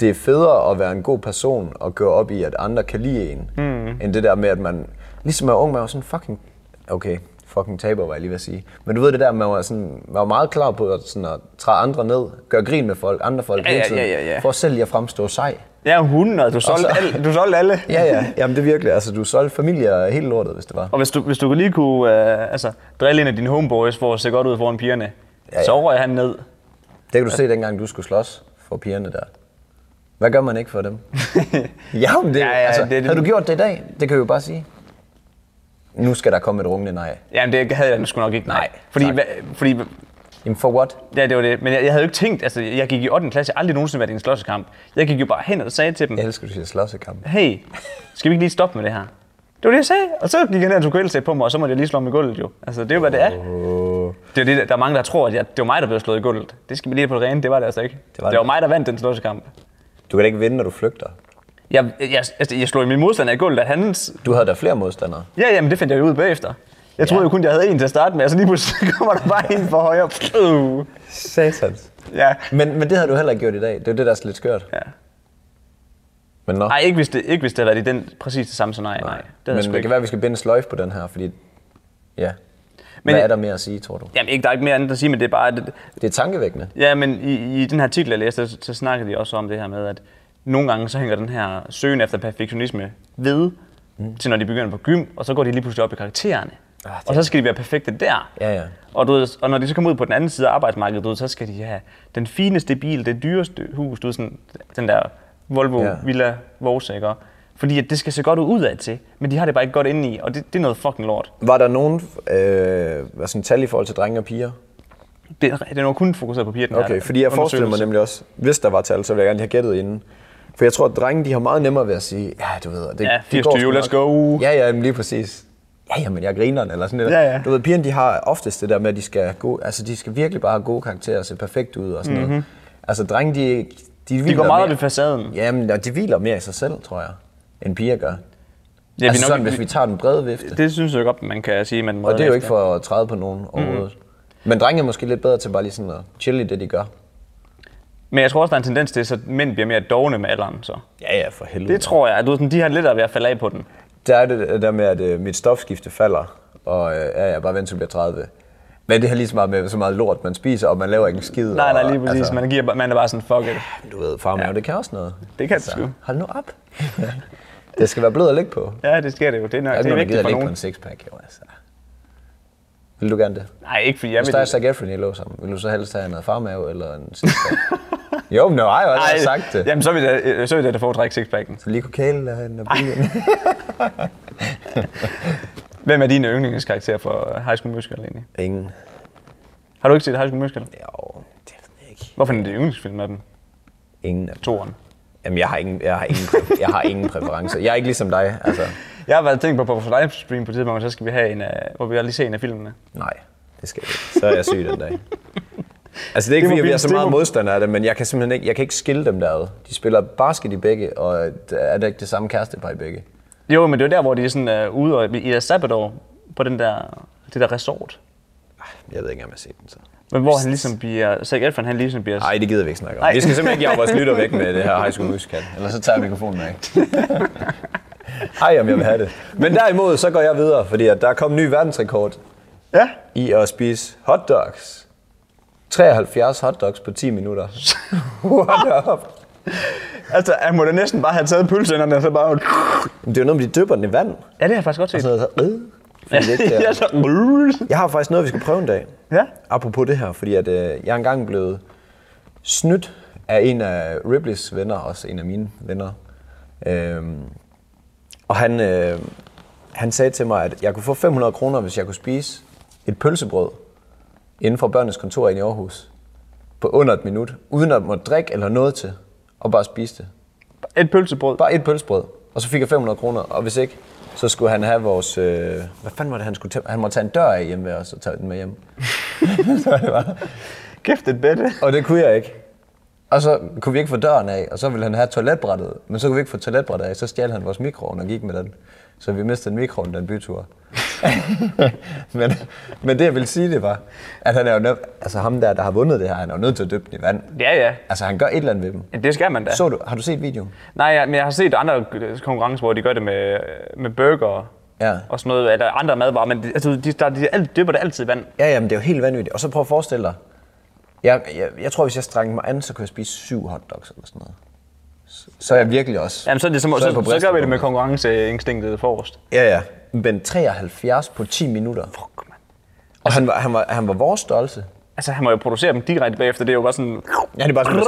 det er federe at være en god person og gå op i, at andre kan lide en, mm. end det der med, at man, ligesom man var ung, man var sådan fucking, okay, fucking taber, var jeg lige ved at sige. Men du ved det der, man var, sådan, man var meget klar på at, sådan at træde andre ned, gøre grin med folk, andre folk
Ja,
hele
ja,
tiden,
ja, ja, ja.
for selv lige at fremstå sej.
Ja, 100. Du solgte,
så-
alle, du solgte alle.
Ja, ja, jamen det er virkelig, altså du solgte familier helt lortet, hvis det var.
Og hvis du, hvis du lige kunne øh, altså, drille en af dine homeboys for at se godt ud foran pigerne, ja,
ja.
ja. så røg han ned.
Det kan du se, dengang du skulle slås for pigerne der. Hvad gør man ikke for dem? ja, men det, ja, ja, altså, det, det, havde du gjort det i dag? Det kan jeg jo bare sige. Nu skal der komme et rungende nej.
Jamen, det havde jeg sgu nok ikke.
Nej,
fordi,
tak.
hva, fordi
Jamen for what?
ja, det var det. Men jeg, jeg, havde jo ikke tænkt, altså, jeg gik i 8. klasse, jeg har aldrig nogensinde været i en slåskamp. Jeg gik jo bare hen og sagde til dem,
Jeg elsker, at du siger slås i kampen.
hey, skal vi ikke lige stoppe med det her? Det var det, jeg sagde. Og så gik han ned og tog kvældtæt på mig, og så måtte jeg lige slå mig i gulvet jo. Altså, det er jo, hvad det er. Det er det, der er mange, der tror, at jeg, det var mig, der blev slået i gulvet. Det skal vi lige have på det rene. Det var det altså ikke. Det var,
var
det var
det.
mig, der vandt den slåskamp.
Du kan da ikke vinde, når du flygter.
Jeg, jeg, altså, jeg, jeg slog i min modstander i gulvet, at hans
Du havde da flere modstandere.
Ja, jamen det fandt jeg jo ud bagefter. Jeg troede jo kun, jeg havde en til at starte med, og så lige pludselig kommer der bare en for højre. Øh.
Satans.
Ja.
Men, men det havde du heller ikke gjort i dag. Det er jo det, der er så lidt skørt.
ja.
Men nå.
Ej, ikke hvis, det, ikke hvis det havde været i den præcis det samme scenarie. Nej, det havde jeg
men
sgu
det
ikke.
kan være, at vi skal binde en sløjfe på den her, fordi... Ja. Men
Men-
Hvad er der mere at sige, tror du?
Jamen ikke, der er ikke mere andet at sige, men det er bare... at-
Det er tankevækkende.
Ja, men i, i den her artikel, jeg læste, så, så snakkede de også om det her med, at nogle gange så hænger den her søgen efter perfektionisme ved, mm. til når de begynder på gym, og så går de lige pludselig op i karaktererne.
Ah, det
og så skal de være perfekte der.
Ja, ja.
Og, du ved, og når de så kommer ud på den anden side af arbejdsmarkedet, du ved, så skal de have den fineste bil, det dyreste hus, du ved, sådan, den der Volvo
Ja.
ja. Villa Vose, ikke? Fordi at det skal se godt ud udad til, men de har det bare ikke godt inde i, og det, det er noget fucking lort.
Var der nogen øh, hvad sådan tal i forhold til drenge og piger?
Det, den var kun fokuseret på piger, den her
Okay, fordi jeg forestiller mig
undersøgelse.
nemlig også, hvis der var tal, så ville jeg gerne lige have gættet inden. For jeg tror, at drenge de har meget nemmere ved at sige, ja, du ved, det,
Ja,
det går
80-20,
sgu
let's
nok."
go.
Ja, ja, men lige præcis. Ja, jamen, jeg griner eller sådan noget.
Ja, ja.
Du ved, pigerne de har oftest det der med, at de skal, gode, altså, de skal virkelig bare have gode karakterer og se perfekt ud og sådan mm-hmm. noget. Altså, drenge, de, de,
Mhm. De går meget op i
mere,
facaden.
Jamen, og de hviler mere i sig selv, tror jeg, end piger gør. Ja,
vi
altså
nok-
sådan, hvis vi tager den brede vifte.
Det synes jeg godt, man kan sige, man må
Og det er jo ikke for at træde på nogen overhovedet. Mm. Men drenge er måske lidt bedre til bare lige sådan at chille i det, de gør.
Men jeg tror også, der er en tendens til, at mænd bliver mere dogne med alderen. Så.
Ja, ja, for helvede.
Det tror jeg. Du, ved, sådan, de har lidt at være falde af på den.
Der er det der med, at øh, mit stofskifte falder, og øh, ja, jeg bare venter til jeg bliver 30. Men det har lige så meget med, så meget lort, man spiser, og man laver ikke en skid.
Nej, nej,
og,
lige præcis. Altså, man, giver, man er bare sådan, fuck it.
Du ved, farmave, ja. det kan også noget. Altså,
Det kan det sgu.
Hold nu op. det skal være blødt at ligge på.
Ja, det sker det jo. Det er, nok,
Der er
det
ikke
er
nogen, der
vigtigt
gider
for
ligge på
nogen.
en sixpack, jo altså. Vil du gerne det?
Nej, ikke fordi jeg
Hvis
vil...
der er Zac Efron, I lå sammen, vil du så helst have noget farmave eller en sixpack? jo, men det har jeg jo allerede
Nej,
sagt det.
Jamen, så vil jeg, øh, så vil jeg da foretrække sixpacken.
Du lige kunne kæle hende og blive
Hvem er dine yndlingskarakterer for High School Musical egentlig?
Ingen.
Har du ikke set High School Musical?
Jo, det ved jeg ikke.
Hvorfor er det din yndlingsfilm af dem?
Ingen. af dem.
Toren.
Jamen, jeg har ingen, jeg har ingen, præ- jeg har ingen præferencer. Jeg er ikke ligesom dig, altså.
Jeg har været tænkt på, på vores livestream på et tidspunkt, så skal vi have en af, hvor vi lige ser en af filmene.
Nej, det skal jeg ikke. Så er jeg syg den dag. Altså, det er
Det må
ikke, fordi jeg
blive-
bliver så
det
meget
må-
modstander af det, men jeg kan simpelthen ikke, jeg kan ikke skille dem derad. De spiller basket i begge, og er det ikke det samme kærestepar i begge?
Jo, men det er jo der, hvor de er sådan, uh, ude og, i deres sabbatår på den der, det der resort.
Ah, Jeg ved ikke, om jeg har set den så.
Men hvor han ligesom bliver, Zac Efron han ligesom bliver...
Nej, det gider vi ikke snakke om.
Ej.
Vi skal simpelthen ikke jage vores lytter væk med det her High School Musical. Eller så tager jeg mikrofonen af. Ej, om jeg vil have det. Men derimod, så går jeg videre, fordi at der er kommet en ny verdensrekord
Ja.
i at spise hotdogs. 73 hotdogs på 10 minutter. What up?
Altså, han må da næsten bare have taget pølserne, og så bare...
Men Det er jo noget, med, de dypper den i vand.
Ja, det har jeg faktisk godt set.
Og sådan noget, så, øh, fordi det ikke
ja,
kan-
så...
jeg har faktisk noget, vi skal prøve en dag.
Ja.
Apropos det her, fordi at, øh, jeg er engang blevet snydt af en af Ribleys venner, også en af mine venner. Øhm, og han, øh, han sagde til mig, at jeg kunne få 500 kroner, hvis jeg kunne spise et pølsebrød inden for børnenes kontor inde i Aarhus på under et minut, uden at måtte drikke eller noget til, og bare spise det.
Et pølsebrød.
Bare et pølsebrød. Og så fik jeg 500 kroner, og hvis ikke, så skulle han have vores... Øh, hvad fanden var det, han skulle tage? Han måtte tage en dør af hjemme ved os og tage den med hjem. så det var.
Kæft et bedte.
Og det kunne jeg ikke. Og så kunne vi ikke få døren af, og så ville han have toiletbrættet. Men så kunne vi ikke få toiletbrættet af, så stjal han vores mikroovn og gik med den. Så vi mistede en mikroovn den bytur. men, men det, jeg ville sige, det var, at han er jo nød, altså ham der, der har vundet det her, han er jo nødt til at døbe den i vand.
Ja, ja.
Altså, han gør et eller andet ved dem.
Ja, Det skal man da.
Så du, har du set videoen?
Nej, ja, men jeg har set andre øh, konkurrencer, hvor de gør det med, øh, med burger
Ja.
og sådan noget, eller andre madvarer, men de, altså, de, der, de, alt- dypper det altid i vand.
Ja, jamen, det er jo helt vanvittigt. Og så prøv at forestille dig, jeg, jeg, jeg tror, hvis jeg strængte mig an, så kunne jeg spise syv hotdogs eller sådan noget. Så, så er jeg virkelig også...
Jamen, så, er det som, så,
er jeg på
så, så gør vi det med
bristepunktet.
konkurrenceinstinktet forrest.
Ja, ja. Men 73 på 10 minutter.
Fuck, man.
Og han var, han var, han var vores stolse.
Altså, han må jo producere dem direkte bagefter, det er jo bare sådan...
Ja, det er bare sådan,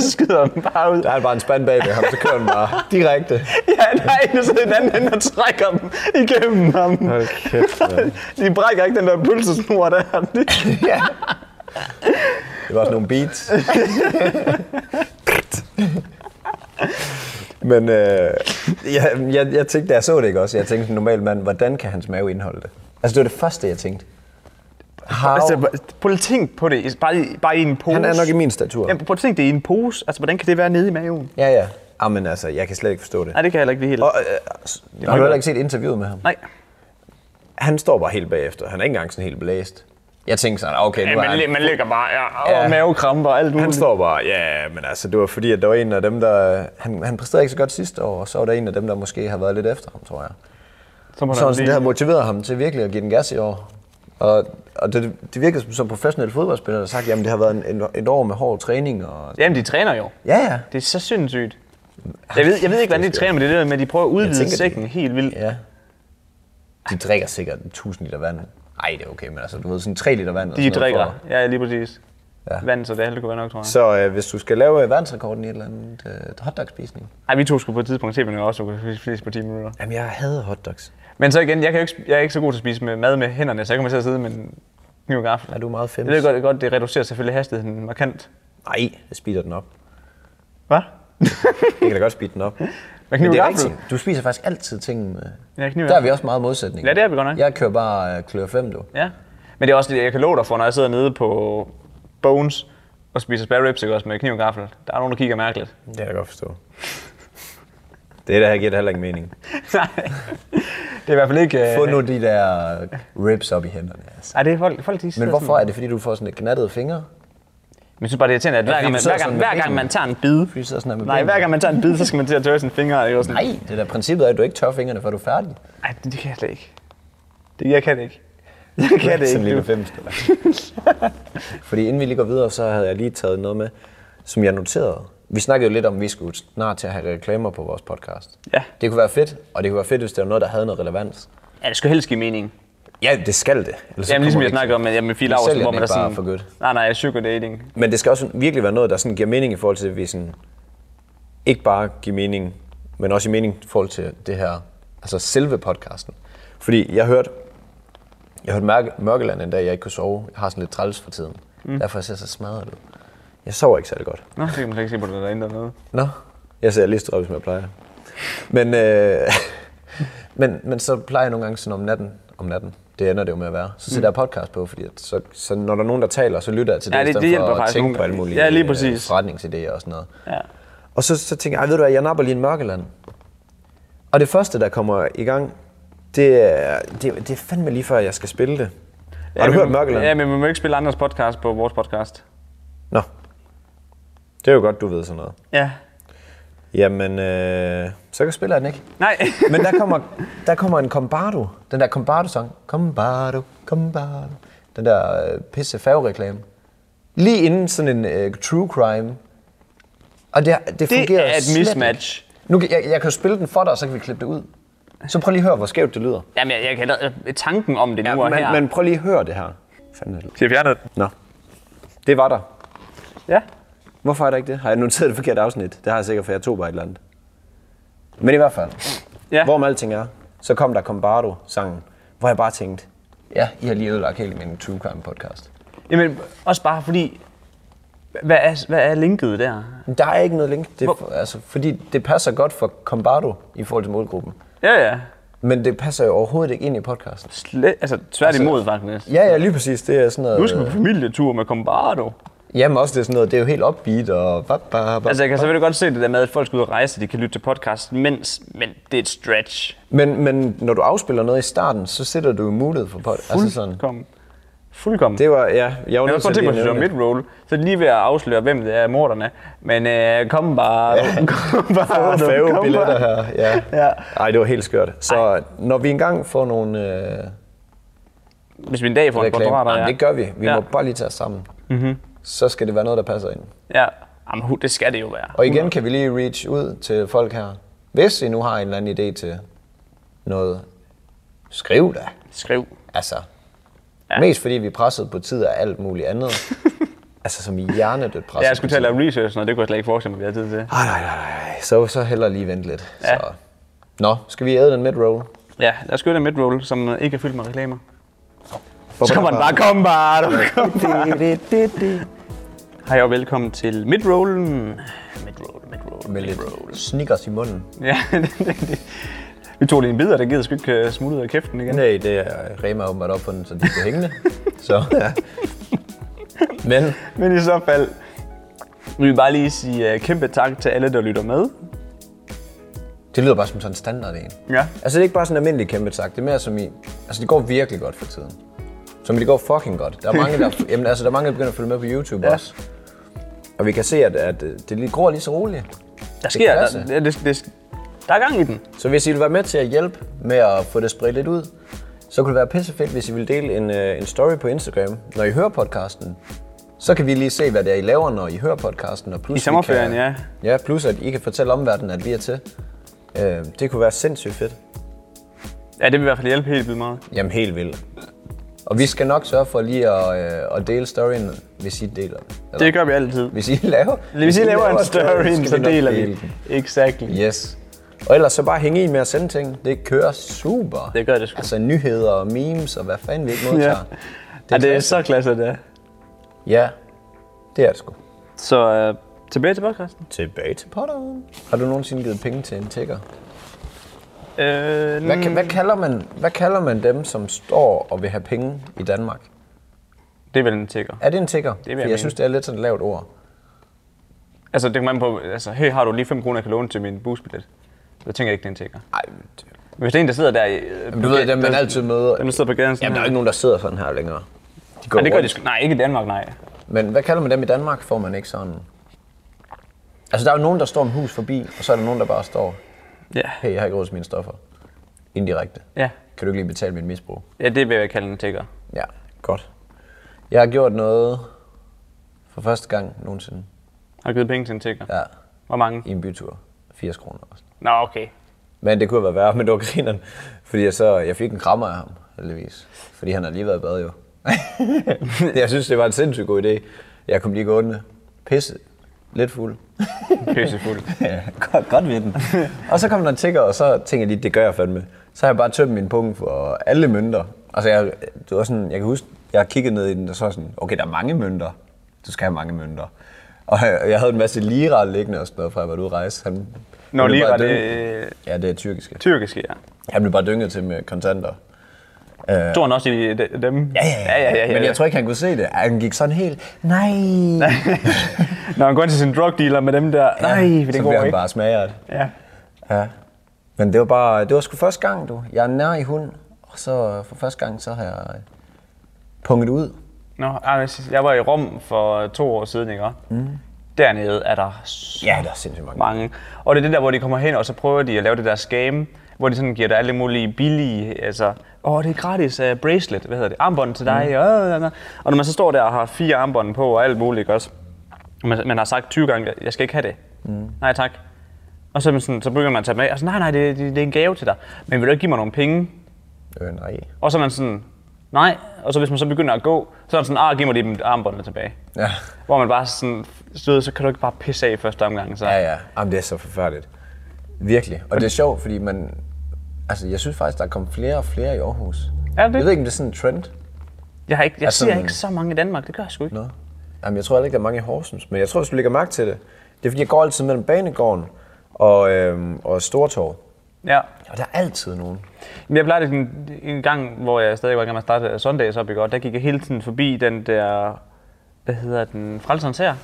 så skyder han bare ud.
der er bare en spand bagved ham, så kører han bare direkte.
Ja, der er en, og så den anden, ende, der trækker dem igennem ham.
Hold kæft, mand.
de brækker ikke den der pølsesnor der. De-
Ja. Det var sådan nogle beats. Men øh, jeg, jeg, jeg tænkte, da jeg så det ikke også, jeg tænkte, en normal mand, hvordan kan hans mave indeholde det? Altså, det var det første, jeg tænkte. How?
Altså, bare- prøv lige at tænk på det, i- bare, i- bare i en pose.
Han er nok i min statur.
Ja, prøv at tænke det i en pose. Altså, hvordan kan det være nede i maven?
Ja, ja. Jamen altså, jeg kan slet ikke forstå det.
Nej, det kan jeg heller ikke lige helt.
Og, øh, s- har du heller ikke set interviewet med ham?
Nej.
Han står bare helt bagefter. Han er ikke engang sådan helt blæst. Jeg tænkte sådan, okay, nu er han
man ligger bare ja, og
Ja.
mavekramper og alt
Han står bare, ja, men altså, det var fordi, at der var en af dem, der... Han, han præsterede ikke så godt sidste år, og så var der en af dem, der måske har været lidt efter ham, tror jeg.
Så må
Så
han
sådan, det
lige...
har motiveret ham til virkelig at give den gas i år. Og, og det, det virkede som, som professionel fodboldspiller, der har sagt, jamen det har været en, en, et år med hård træning. Og...
Jamen, de træner jo.
Ja, ja.
Det er så sindssygt. Jeg ved, jeg ved ikke, hvordan de træner med det der, men de prøver at udvide
tænker, de-
sækken helt vildt.
ja. De drikker sikkert 1000 liter vand. Nej, det er okay, men altså, du ved, sådan 3 liter vand. eller
De
sådan noget
drikker.
for-
Ja, lige præcis.
Ja.
Vand, så det halve kunne være nok, tror jeg.
Så øh, hvis du skal lave øh, verdensrekorden i et eller andet øh, hotdogspisning.
Ej, vi to skulle på et tidspunkt se, men også kunne spise- spise på 10 minutter.
Jamen, jeg hader hotdogs.
Men så igen, jeg, kan jo ikke, sp- jeg er ikke så god til at spise med mad med hænderne, så jeg kommer til at sidde med en kniv og gaffel.
Er du meget fems?
Jeg ved godt, godt, det reducerer selvfølgelig hastigheden markant.
Nej, jeg speeder den op.
Hvad?
Jeg kan da godt speede den op.
Med
Men
kniv og
det er
gaffel?
rigtigt. Du spiser faktisk altid ting med...
Ja, kniv i
Der er vi
gaffel.
også meget modsætning.
Ja, det er vi godt nok.
Jeg kører bare øh, klør 5, du.
Ja. Men det er også det, jeg kan love dig for, når jeg sidder nede på Bones og spiser spare ribs, ikke også med kniv og gaffel. Der er nogen, der kigger mærkeligt.
Det kan jeg godt forstå. Det der her giver det heller ikke mening.
Nej, det er i hvert fald ikke... øh,
Få nu de der ribs op i hænderne. Altså.
Ej, det er folk, folk de
Men
sidder
hvorfor
Sådan,
er det, fordi du får sådan et knattet fingre?
men jeg synes bare, det er irriterende, at hver
fordi
gang,
du
man,
sidder
hver, gang,
sådan med
hver gang
benene.
man tager en bid...
Fordi du sidder sådan her med
Nej,
benene.
hver gang man tager en bid, så skal man til at tørre sine fingre. Ikke? Og sådan,
Nej, det der princippet er, at du ikke tør fingrene, før du er færdig.
Ej, det, det kan jeg slet ikke. Det, jeg kan det ikke. Jeg kan det ikke.
lille
Du.
femst, eller? Fordi inden vi lige går videre, så havde jeg lige taget noget med, som jeg noterede. Vi snakkede jo lidt om, at vi skulle snart til at have reklamer på vores podcast.
Ja.
Det kunne være fedt, og det kunne være fedt, hvis det var noget, der havde noget relevans.
Ja, det skulle helst give mening.
Ja, det skal det. Ellers så
Jamen ligesom
kommer
jeg
det ikke-
snakker om, at jeg med Fie Laursen,
sælger
hvor
den
man er
ikke bare
sådan...
for godt.
Nej, nej, sugar dating.
Men det skal også virkelig være noget, der sådan giver mening i forhold til, at vi sådan, ikke bare giver mening, men også i mening i forhold til det her, altså selve podcasten. Fordi jeg hørte, jeg hørte Mørke, Mørkeland en dag, jeg ikke kunne sove. Jeg har sådan lidt træls for tiden. Mm. Derfor jeg ser så smadret ud. Jeg sover ikke særlig godt.
Nå, det kan man slet ikke se på det derinde dernede.
Nå, jeg ser lige så træt ud, som jeg plejer. Men, øh, men, men så plejer jeg nogle gange sådan om natten, om natten, det ender det jo med at være. Så sætter mm. jeg podcast på, fordi at så, så, når der er nogen, der taler, så lytter jeg til det,
Ja, det-
i stedet
det hjælper
for at
faktisk
tænke
nogle
på alle
gange.
mulige
Ja, lige
øh,
præcis.
forretningsidéer og sådan noget.
Ja.
Og så, så tænker jeg, "Ej, ved du hvad, jeg napper lige en mørkeland. Og det første, der kommer i gang, det er, det, det er fandme lige før, jeg skal spille det. Har du
men-
hørt Mørkeland?
Ja, men man må ikke spille andres podcast på vores podcast.
Nå. Det er jo godt, du ved sådan noget.
Ja.
Jamen, øh, så spiller jeg den ikke.
Nej.
Men der kommer, der kommer en Combardo. Den der Combardo-sang. Combardo, Combardo. Den der øh, pisse reklame Lige inden sådan en øh, true crime. Og det, det, det fungerer
er et
slet ikke.
mismatch.
Nu, kan- jeg, jeg kan jo spille den for dig, og så kan vi klippe det ud. Så prøv lige at høre, hvor skævt det lyder.
Jamen, jeg, jeg kan heller- tanken om det nu og her.
men, men prøv lige at høre det her. Fanden er det-
Skal jeg fjerne det?
Nå. Det var der.
Ja.
Hvorfor er der ikke det? Har jeg noteret det forkerte afsnit? Det har jeg sikkert, for jeg tog bare et eller andet. Men i hvert fald,
Ja.
ja. hvorom alting er, så kom der Combardo-sangen, hvor jeg bare tænkte, ja, I har lige ødelagt hele min true crime podcast.
Jamen, også bare fordi... Hvad er, hvad er linket der?
Men der er ikke noget link, det, er
Hvor-
for, altså, fordi det passer godt for Combardo i forhold til målgruppen.
Ja, ja.
Men det passer jo overhovedet ikke ind i podcasten.
Slet, altså, tværtimod altså, faktisk.
Ja, ja, lige præcis. Det er sådan noget...
Nu skal vi på familietur med Combardo.
Jamen også det er sådan noget, det er jo helt upbeat og... Ba, ba, ba,
Altså, jeg kan selvfølgelig godt se det der med, at folk skal ud og rejse, de kan lytte til podcast, mens, men det er et stretch.
Men, men når du afspiller noget i starten, så sætter du jo mulighed for pod. Altså sådan.
Fuldkommen. Fuldkommen.
Det var, ja, jeg var
Jeg har
nødt
også
til
godt tænkt
at lige
mig, at
nævne
det
det.
var midroll, så er det lige ved at afsløre, hvem det er, morderne. er. Men øh, kom bare, kom bare,
Få
kom
fave
bare.
billetter her. Ja.
Ja.
Ej, det var helt skørt. Så når vi engang får nogle øh,
Hvis vi en dag får en
reklamer,
kvadrat,
ja. det gør vi. Vi
ja. Mhm.
må bare lige tage os sammen. Mm-hmm. Så skal det være noget, der passer ind.
Ja, Jamen, hu- det skal det jo være.
Og igen kan vi lige reach ud til folk her. Hvis I nu har en eller anden idé til noget, skriv da.
Skriv.
Altså,
Ja.
ja. mest fordi vi er presset på tid og alt muligt andet. altså, som i hjernedødt presset
Ja, jeg skulle
på
til at
tid.
lave research, og det kunne jeg slet ikke forestille mig, at vi havde tid til.
Ej, nej, nej, nej. Så, så heller lige vente lidt.
Ja.
Så. Nå, skal vi æde den mid-roll?
Ja, lad os gøre det midroll, som øh, ikke er fyldt med reklamer. Så kommer den bare, kom bare, du, kom bare. Hej og velkommen til midrollen. Midroll, midroll,
Med
midroll.
lidt snickers i munden.
Ja, det, det, det. Vi tog lige en bidder, der gider sgu ikke øh, smutte ud af kæften igen.
Nej, det er Rema åbenbart op på den, så de bliver hængende. så ja. Men
Men i så fald vil vi bare lige sige uh, kæmpe tak til alle, der lytter med.
det lyder bare som sådan en standard en.
Ja.
Altså det er ikke bare sådan en almindelig kæmpe tak, det er mere som i, altså det går virkelig godt for tiden. Som i, det går fucking godt. Der er mange, der, jamen, altså, der, er mange, der begynder at følge med på YouTube
Ja.
ja. også. Og vi kan se, at, at øh, det lige gror lige så roligt.
Der sker,
klasse.
der, det, det, der er gang i den.
Så hvis I vil være med til at hjælpe med at få det spredt lidt ud, så kunne det være pissefedt, hvis I vil dele en, øh, en story på Instagram, når I hører podcasten. Så kan vi lige se, hvad det er, I laver, når I hører podcasten. Og plus,
I sommerferien,
vi kan, Ja, plus at I kan fortælle omverdenen, at vi er til. Øh, det kunne være sindssygt fedt.
Ja, det vil i hvert fald hjælpe helt vildt meget.
Jamen helt vildt. Og vi skal nok sørge for lige at, øh, at dele storyen, hvis I deler den. Eller,
Det gør vi altid.
Hvis I laver,
Hvis I laver en
storyen,
story,
skal
så
nok
deler
dele
vi.
den.
Exactly.
Yes. Og ellers så bare hænge i med at sende ting. Det kører super.
Det gør det sgu.
Altså nyheder og memes og hvad fanden vi ikke
Ja.
modtager.
Det er, ja, det er
klasse.
så klasse, det er.
Ja, det er det sgu.
Så øh, tilbage til podcasten.
Tilbage til potteren. Har du nogensinde givet penge til en tigger?
Øh,
Hvad, ka- hvad, kalder man, hvad kalder man dem, som står og vil have penge i Danmark?
Det er vel en tigger.
Er det en tigger?
jeg
For jeg
mene.
synes, det er lidt sådan et lavt ord.
Altså, det kan man på, altså, her har du lige 5 kroner, jeg kan låne til min busbillet. Så tænker jeg ikke, det er en tigger.
Nej,
Men hvis det er en, der sidder der i... Øh,
du ved, dem man altid møder.
Dem, der sidder på gaden sådan
Jamen, der er jo
her.
ikke nogen, der sidder sådan her længere. De går
Nej, det gør de
rundt.
sgu. Nej, ikke i Danmark, nej.
Men hvad kalder man dem i Danmark, får man ikke sådan... Altså, der er jo nogen, der står om hus forbi, og så er der nogen, der bare står,
Ja.
hey, jeg har ikke råd til mine stoffer. Indirekte.
Ja.
Kan du ikke lige betale mit misbrug?
ja, det vil jeg kalde en tigger.
Ja, godt. Jeg har gjort noget for første gang nogensinde.
Har du givet penge til en tigger?
Ja,
Hvor mange?
i en bytur. 80 kroner også.
Nå, okay.
Men det kunne have været værre, men det var grineren. Fordi jeg, så, jeg fik en krammer af ham, heldigvis. Fordi han har lige været i bad, jo. jeg synes, det var en sindssygt god idé. Jeg kom lige gående. Pisse. Lidt fuld.
Pissefuld.
Ja, godt, godt ved den. og så kom der en tigger, og så tænkte jeg lige, det gør jeg fandme. Så har jeg bare tømt min punkt for alle mønter. Altså, jeg, det var sådan, jeg kan huske, jeg har kigget ned i den, og så var jeg sådan, okay, der er mange mønter. Du skal have mange mønter. Og jeg, jeg havde en masse lira liggende og sådan noget, fra jeg var ude at rejse. Han,
Når
han blev
lige
bare
var det
dynget-
øh,
Ja, det er tyrkiske.
tyrkiske, ja.
Han blev bare dynget til med kontanter.
Tog han også i de- dem? Ja, ja, ja. ja, ja.
Men jeg tror ikke, han kunne se det. Han gik sådan helt, nej. nej
Når han går ind til sin drug dealer med dem der, nej, det
så
går
bliver han
ikke.
bare smagret.
Ja.
Ja. Men det var bare, det var sgu første gang, du. Jeg er nær i hund, og så øh, for første gang, så har jeg øh, punget ud.
Nå, Anders, jeg var i Rom for to år siden, ikke? Mm. Dernede er der så
Ja, der er sindssygt mange.
mange. Og det er det der, hvor de kommer hen, og så prøver de at lave det der scam, hvor de sådan giver dig alle mulige billige, altså, åh, det er gratis uh, bracelet, hvad hedder det, armbånd til dig, mm. og, og når man så står der og har fire armbånd på og alt muligt, ikke også? Og Man, man har sagt 20 gange, jeg skal ikke have det. Mm. Nej tak. Og så, er man sådan, så begynder man at tage dem af, og så, nej, nej, det, det, det er en gave til dig, men vil du ikke give mig nogle penge?
Øh, nej.
Og så er man sådan, nej. Og så hvis man så begynder at gå, så er man sådan, ah, giv mig lige dem armbåndene tilbage.
Ja,
Hvor man bare sådan, støder, så kan du ikke bare pisse af i første omgang. Så.
ja, ja. Jamen, det er så forfærdeligt. Virkelig. Og det er sjovt, fordi man... Altså, jeg synes faktisk, der er kommet flere og flere i Aarhus.
Er det?
Jeg ved ikke, om det er sådan en trend.
Jeg, har ikke, jeg
Altså,
ser
men-
ikke så mange i Danmark, det gør jeg sgu ikke.
Nå. Jamen, jeg tror heller ikke, der er mange i Horsens. Men jeg tror, hvis du lægger mærke til det, det er, fordi jeg går altid mellem Banegården og, øhm, og Stortorv.
Ja.
Og der er altid nogen.
Men jeg plejede en, øh, en gang, hvor jeg stadig var i gang med at starte søndags op i går, der gik jeg hele tiden forbi den der hvad hedder den, Frelserens her.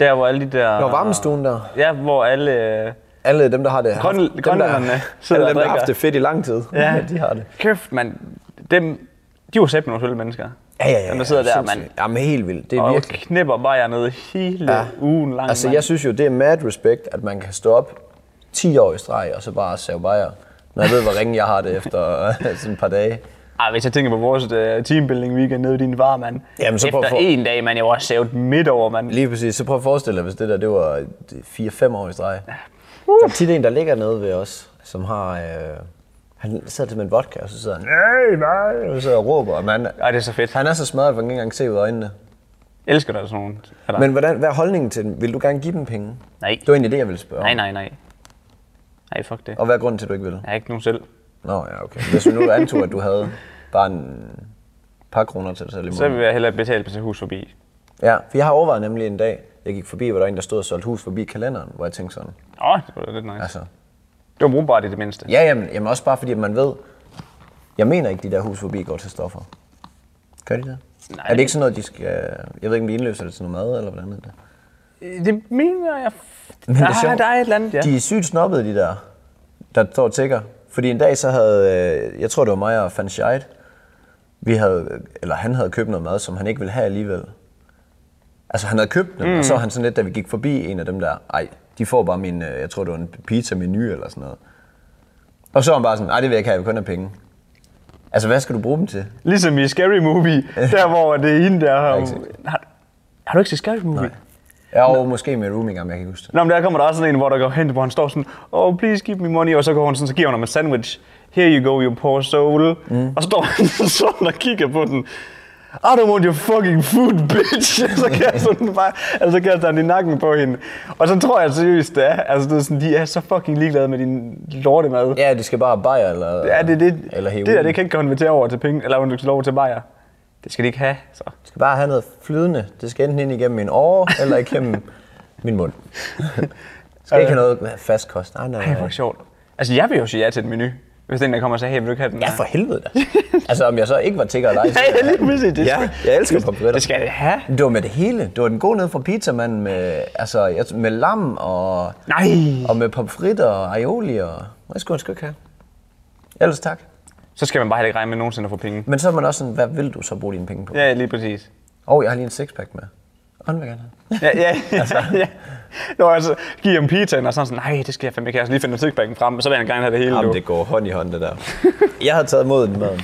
Der hvor alle de der...
Når varmestuen der,
Ja, hvor alle... øh,
alle dem, der har det, haft-
Grønl-
dem, der,
grønlænderne sidder
alle
og
dem, der har haft
drikker.
det fedt i lang tid,
Ja.
de har det.
Kæft, mand. Dem, de var sæt med nogle sølle mennesker.
Ja, ja, ja.
Dem, der sidder der,
sindssygt.
mand.
Jamen helt vildt. Det er
Og
virkelig.
knipper bare hernede hele ja. ugen lang.
Altså,
mand.
jeg synes jo, det er mad respect, at man kan stå op 10 år i streg, og så bare save bajer. Når jeg ved, hvor ringe jeg har det efter sådan et par dage.
Ej, hvis jeg tænker på vores uh, teambuilding weekend nede i din var, mand.
Jamen, så prøv at
Efter
få-
en dag, man, jeg var også savet midt over, mand.
Lige præcis. Så prøv at forestille dig, hvis det der, det var 4-5 år i streg. Der
Uh.
er tit en, der ligger nede ved os, som har... Øh, han sidder til med en vodka, og så sidder han... Nej, nej! Og så råber, og man,
Ej, det er så fedt.
han er så smadret, at man ikke engang kan se ud af øjnene.
Jeg elsker dig sådan nogen. Er der-
Men hvordan, hvad er holdningen til den? Vil du gerne give dem penge?
Nej.
Det var egentlig det, jeg ville spørge om.
Nej, nej, nej. Nej, fuck det.
Og hvad er grunden til, at du ikke vil?
Jeg er ikke nogen selv.
Nå, ja, okay. Hvis vi nu antog, at du havde bare en par kroner til dig selv i
Så
måneden.
vil jeg hellere betale på til hus forbi.
Ja, for jeg har overvejet nemlig en dag, jeg gik forbi, hvor der var en, der stod og solgte hus forbi kalenderen, hvor jeg tænkte sådan,
Åh, oh, det var da lidt nice.
altså,
Det var brugbart i det mindste.
ja, jamen, jamen også bare fordi, at man ved, jeg mener ikke, de der hus forbi går til stoffer. Gør de det?
Nej.
Er det ikke sådan noget, de skal, øh, jeg ved ikke, om de indløser det til noget mad, eller hvordan er det?
Det mener jeg... Men
det er
der, er
sjovt.
Ah, der er et eller andet, ja.
De er sygt snobbede, de der, der står og tigger. Fordi en dag så havde, øh, jeg tror det var mig og Van Scheid, vi havde, eller han havde købt noget mad, som han ikke ville have alligevel. Altså han havde købt den, mm. og så var han sådan lidt, da vi gik forbi en af dem der, ej, de får bare min, øh, jeg tror det var en pizza-menu eller sådan noget. Og så var han bare sådan, nej det vil jeg ikke have, jeg vil kun have penge. Altså hvad skal du bruge dem til?
Ligesom i Scary Movie, der hvor det er hende, der har...
ikke set
Har, har du ikke set Scary Movie? Nej.
Ja, og måske med rooming, om jeg kan ikke huske det.
Nå, men der kommer der også sådan en, hvor der går hen, hvor han står sådan, oh, please give me money, og så går hun sådan, så giver hun ham en sandwich. Here you go, you poor soul. Mm. Og så står han sådan og kigger på den. I don't want your fucking food, bitch! Og så kaster, den bare, altså, så kaster han i nakken på hende. Og så tror jeg seriøst, det er. Altså, det er sådan, de er så fucking ligeglade med din lortemad.
Ja, de skal bare bajer eller
Ja, det er det.
Eller
det
heroin.
der, det kan ikke konvertere over til penge, eller undskyld, over til bajer. Det skal de ikke have, så.
Det skal bare have noget flydende. Det skal enten ind igennem min åre, eller igennem min mund. Det skal ikke have noget fast kost. Nej, nej,
Ej, hvor
nej.
er det sjovt. Altså, jeg vil jo sige ja til en menu, hvis den der kommer og siger, hey, vil du ikke have den
Ja,
her?
for helvede da. Altså, om jeg så ikke var tigger eller ej. så
Ja, ja,
ville jeg
lige præcis. Det
Ja,
skal-
jeg elsker
Det
pomfritter.
skal det have.
Det var med det hele. Det var den gode nede fra pizzamanden med, altså, jeg- med lam og,
Nej.
og med pomfritter og aioli. Og, hvad skulle han sgu ikke have? Ellers tak.
Så skal man bare heller ikke regne med nogensinde at få penge.
Men så er man også sådan, hvad vil du så bruge dine penge på? Åh,
Ja, lige præcis.
oh, jeg har lige en sixpack med. Og den vil jeg gerne have.
Ja, ja,
Altså.
ja. ja. Nå, altså, giv ham pizzaen, og sådan sådan, nej, det skal jeg fandme ikke have. Så lige finde sixpacken frem, og så vil han gerne have det hele.
Jamen,
nu.
det går hånd i hånd, det der. jeg har taget mod den maden.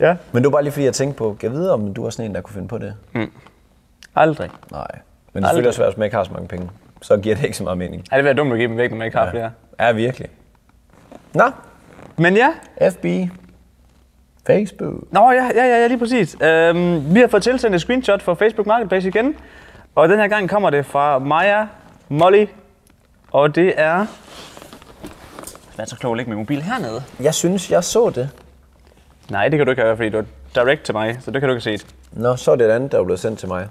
Ja.
Men det var bare lige fordi, jeg tænkte på, kan jeg vide, om du er sådan en, der kunne finde på det?
Aldrig.
Nej. Men det er selvfølgelig også svært, hvis man ikke har så mange penge. Så giver det ikke så meget mening.
Ja, det bliver dumt at give dem væk, når man ikke har ja. flere.
Ja, virkelig. Nå,
Men ja,
FB. Facebook.
Nå, ja, ja, ja, ja, lige præcis. Øhm, vi har fået tilsendt et screenshot fra Facebook Marketplace igen. Og den her gang kommer det fra Maja Molly. Og det er... Hvad så klog at lægge min mobil hernede?
Jeg synes, jeg så det.
Nej, det kan du ikke have, fordi du er direct til mig, så det kan du ikke se.
Nå, så er det et andet, der er blevet sendt til mig.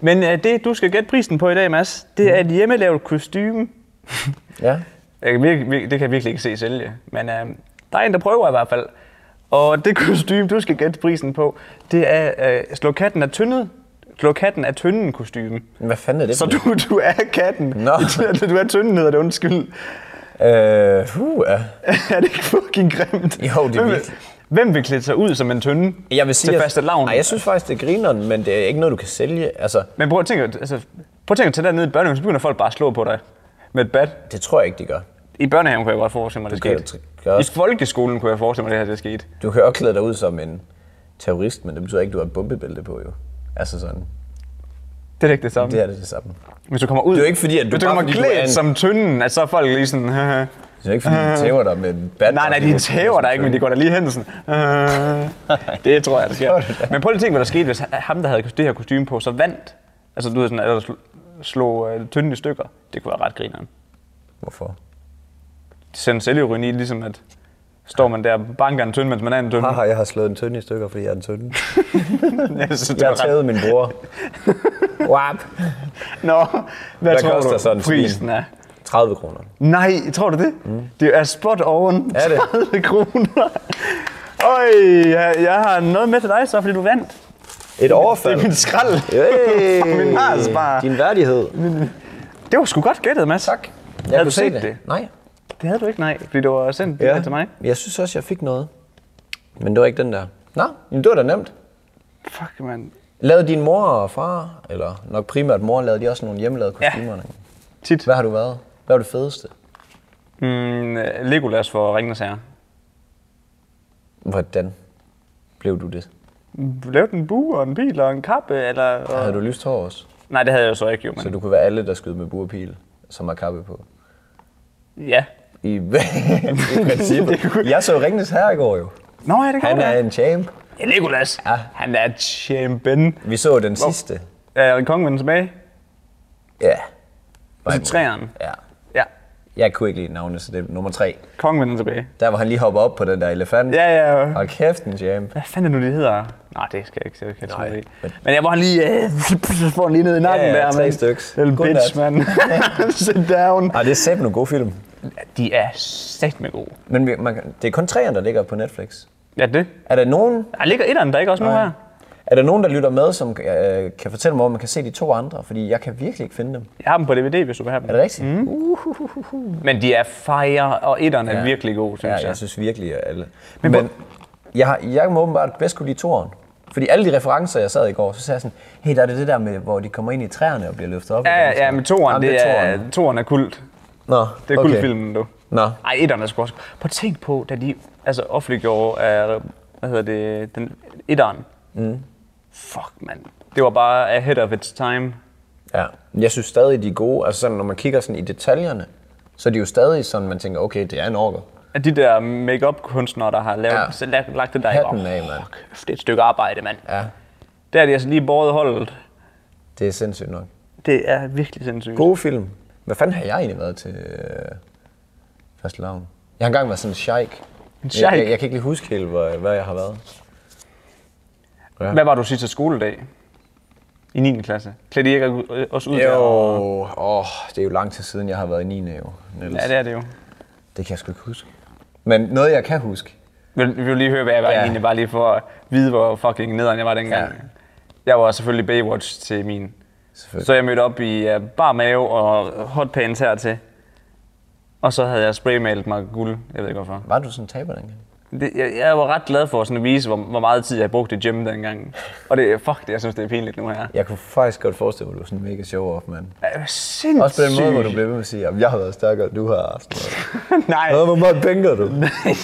Men øh, det, du skal gætte prisen på i dag, Mads, det er
Mhm.
et hjemmelavet kostume.
Ja.
Jeg kan virkelig, virkelig, det kan jeg virkelig ikke se sælge, men øh, der er en, der prøver i hvert fald. Og det kostume, du skal gætte prisen på, det er øh, slå katten af tyndet. Slå katten af tynden kostume.
Men hvad fanden er det
Så
for
du, du er katten.
Nå.
Du er tynden, hedder det, undskyld.
noget? Øh, uh, ja.
er det ikke fucking grimt?
Jo, det er
Hvem vil-
vildt.
Hvem vil klæde sig ud som en tynde
Jeg vil sige,
til faste lavn?
Nej, jeg synes faktisk, det er grineren, men det er ikke noget, du kan sælge. Altså,
Men prøv at tænke, altså, prøv at tænke at tage dernede i børnehaven, så begynder folk bare at slå på dig med et bat.
det tror jeg ikke, de gør.
I børnehaven kunne jeg godt forestille mig, det
kan
skete.
jo tr- gøre-
I folkeskolen kunne jeg forestille mig, det her det skete.
Du kan jo også klæde dig ud som en terrorist, men det betyder ikke, du har et bombebælte på, jo. Altså sådan.
Det er ikke det samme.
Det er det, det samme.
Hvis du kommer ud,
Det er jo ikke fordi, at du
hvis du
bare
kommer
fordi, du er
klædt
en-
som tynden, at så er folk lige sådan... nej,
Det er ikke fordi, de tæver dig med en bat.
Øh. nej, de tæver dig ikke, men de går da lige hen sådan... det tror jeg, der
Tror
sker.
du det?
Men prøv lige at tænke, hvad der skete, hvis ham, der havde det her kostume på, så vandt. Altså, du ved sådan, eller slog, slog øh, tynden i stykker. Det kunne være ret grineren.
Hvorfor?
Det sender selvironi, i, ligesom at står man der og banker en tynde, mens man er en tynde.
Haha, jeg har slået en tynde i stykker, fordi jeg er en tynde.
Jeg synes, det var
Jeg har
ret-
taget min bror. Wap.
Nå, hvad,
Hvad
tror
koster
du,
sådan en
prisen er?
30 kroner.
Nej, tror du det? Mm. Det er spot oven
Er det?
30 kroner. Øj, jeg, jeg har noget med til dig så, fordi du vandt.
Et overfald.
Det er min skrald.
Hey,
Min Mars bare.
Din værdighed.
Det var sgu godt gættet, Mads.
Tak.
Jeg havde du set det? det?
Nej.
Det havde du ikke, nej. Fordi det var sendt ja. til mig.
Jeg synes også, jeg fik noget. Men det var ikke den der. Nå, men det var da nemt.
Fuck, mand.
Lavede din mor og far, eller nok primært mor, lavede de også nogle hjemmelavede
Ja.
kostymer? Ja.
Tit.
Hvad har du været? Hvad var det fedeste?
Mm, Legolas for Ringens Herre.
Hvordan blev du det?
Lavede en bue og en bil og en kappe, eller... Og...
Havde du lyst hår også?
Nej, det havde jeg jo så ikke, jo, men...
Så du kunne være alle, der skød med buerpil, som har kappe på.
Ja.
I, i princippet. Jeg så Ringnes Herre i går jo.
Nå, ja, det kan
Han
godt
er
være.
en champ.
Ja, Legolas.
Ja.
Han er champion.
Vi så den sidste.
Er en konge vender tilbage?
Ja. Var
Til
imod.
træerne.
Ja.
Ja.
Jeg kunne ikke lide navnet, så det er nummer tre.
Kongen vender tilbage.
Der hvor han lige hopper op på den der elefant.
Ja, ja.
Og kæft en champ.
Hvad fanden er det nu, de hedder? Nej, det skal jeg ikke sige.
Nej,
Nej,
men-
men... men jeg må lige... Øh, får den lige ned i nakken
Ja, ja,
der,
tre
mand.
styks.
Little
Godnat.
bitch, mand. Sit down.
Ah, det er sæt en god film.
De er sæt med gode.
Men vi- man, kan- det er kun træerne, der ligger på Netflix.
Ja, det.
Er der nogen,
Der ligger etteren der ikke også nu her?
er der, nogen der lytter med, som øh, kan fortælle mig, hvor man kan se de to andre? Fordi jeg kan virkelig ikke finde dem.
Jeg har dem på DVD, hvis du vil have dem.
Er det rigtigt? Mm.
Men de er fire, og etteren ja.
Ja.
er virkelig god, synes
Ja,
jeg.
jeg synes virkelig, at alle... Men, Men jeg, har- jeg må åbenbart bedst kunne lide toren. Fordi alle de referencer, jeg sad i går, så sagde jeg sådan, hey, der er det det der med, hvor de kommer ind i træerne og bliver løftet op.
Ja,
igen."
ja, ja, men toeren,
Jamen,
det
toeren.
er, toeren er kult.
Nå,
Det er okay. filmen du.
Nå.
Ej, etteren er sgu også... Prøv at tænk på, da de altså, offentliggjorde, af, hvad hedder det, den etteren. Mm. Fuck, mand. Det var bare ahead of its time.
Ja. Jeg synes stadig, de er gode. Altså sådan, når man kigger sådan i detaljerne, så er de jo stadig sådan, man tænker, okay, det er en orker.
At de der makeup kunstnere der har lavet,
Ja.
ja. så lagt, lagt det der
Hatten
bare,
af, mand.
"Åh, kæft, det er et stykke arbejde, mand.
Ja,
Der er de altså lige båret holdet.
det er sindssygt nok.
Det er virkelig sindssygt.
Gode film. Hvad fanden har jeg egentlig været til øh, første lavn? Jeg har engang været sådan en sheik. En
sheik?
Jeg, jeg, jeg, kan ikke lige huske helt, hvor, hvad jeg har været.
Hvad var du sidste skoledag? I 9. klasse? Klædte I ikke øh, os ud der?
Jo,
og-
åh, det er jo lang tid siden, jeg har været i 9. jo, Niels.
Ja, det er det jo.
det kan jeg sgu ikke huske. Men noget, jeg kan huske.
Vil, vil du lige høre, hvad jeg var
Ja.
ja. egentlig, bare lige for at vide, hvor fucking nederen jeg var dengang.
Ja.
Ja. Jeg var selvfølgelig Baywatch til min.
Selvfølgelig.
Så jeg mødte op i uh, bar mave og hotpants hertil. Og så havde jeg spraymalet mig guld. Jeg ved ikke hvorfor.
Var du sådan en taber dengang?
Det, jeg, jeg, var ret glad for sådan at vise, hvor, hvor meget tid jeg brugte i gym dengang. Og det, fuck det, jeg synes, det er pinligt nu her.
Jeg kunne faktisk godt forestille mig, at du var sådan en mega show off, mand.
Ja. Sindssygt.
Også på den måde, hvor du blev ved med at sige, at jeg har været stærkere, end du har. Sådan noget.
Nej.
Nå, Hvor meget bænker du?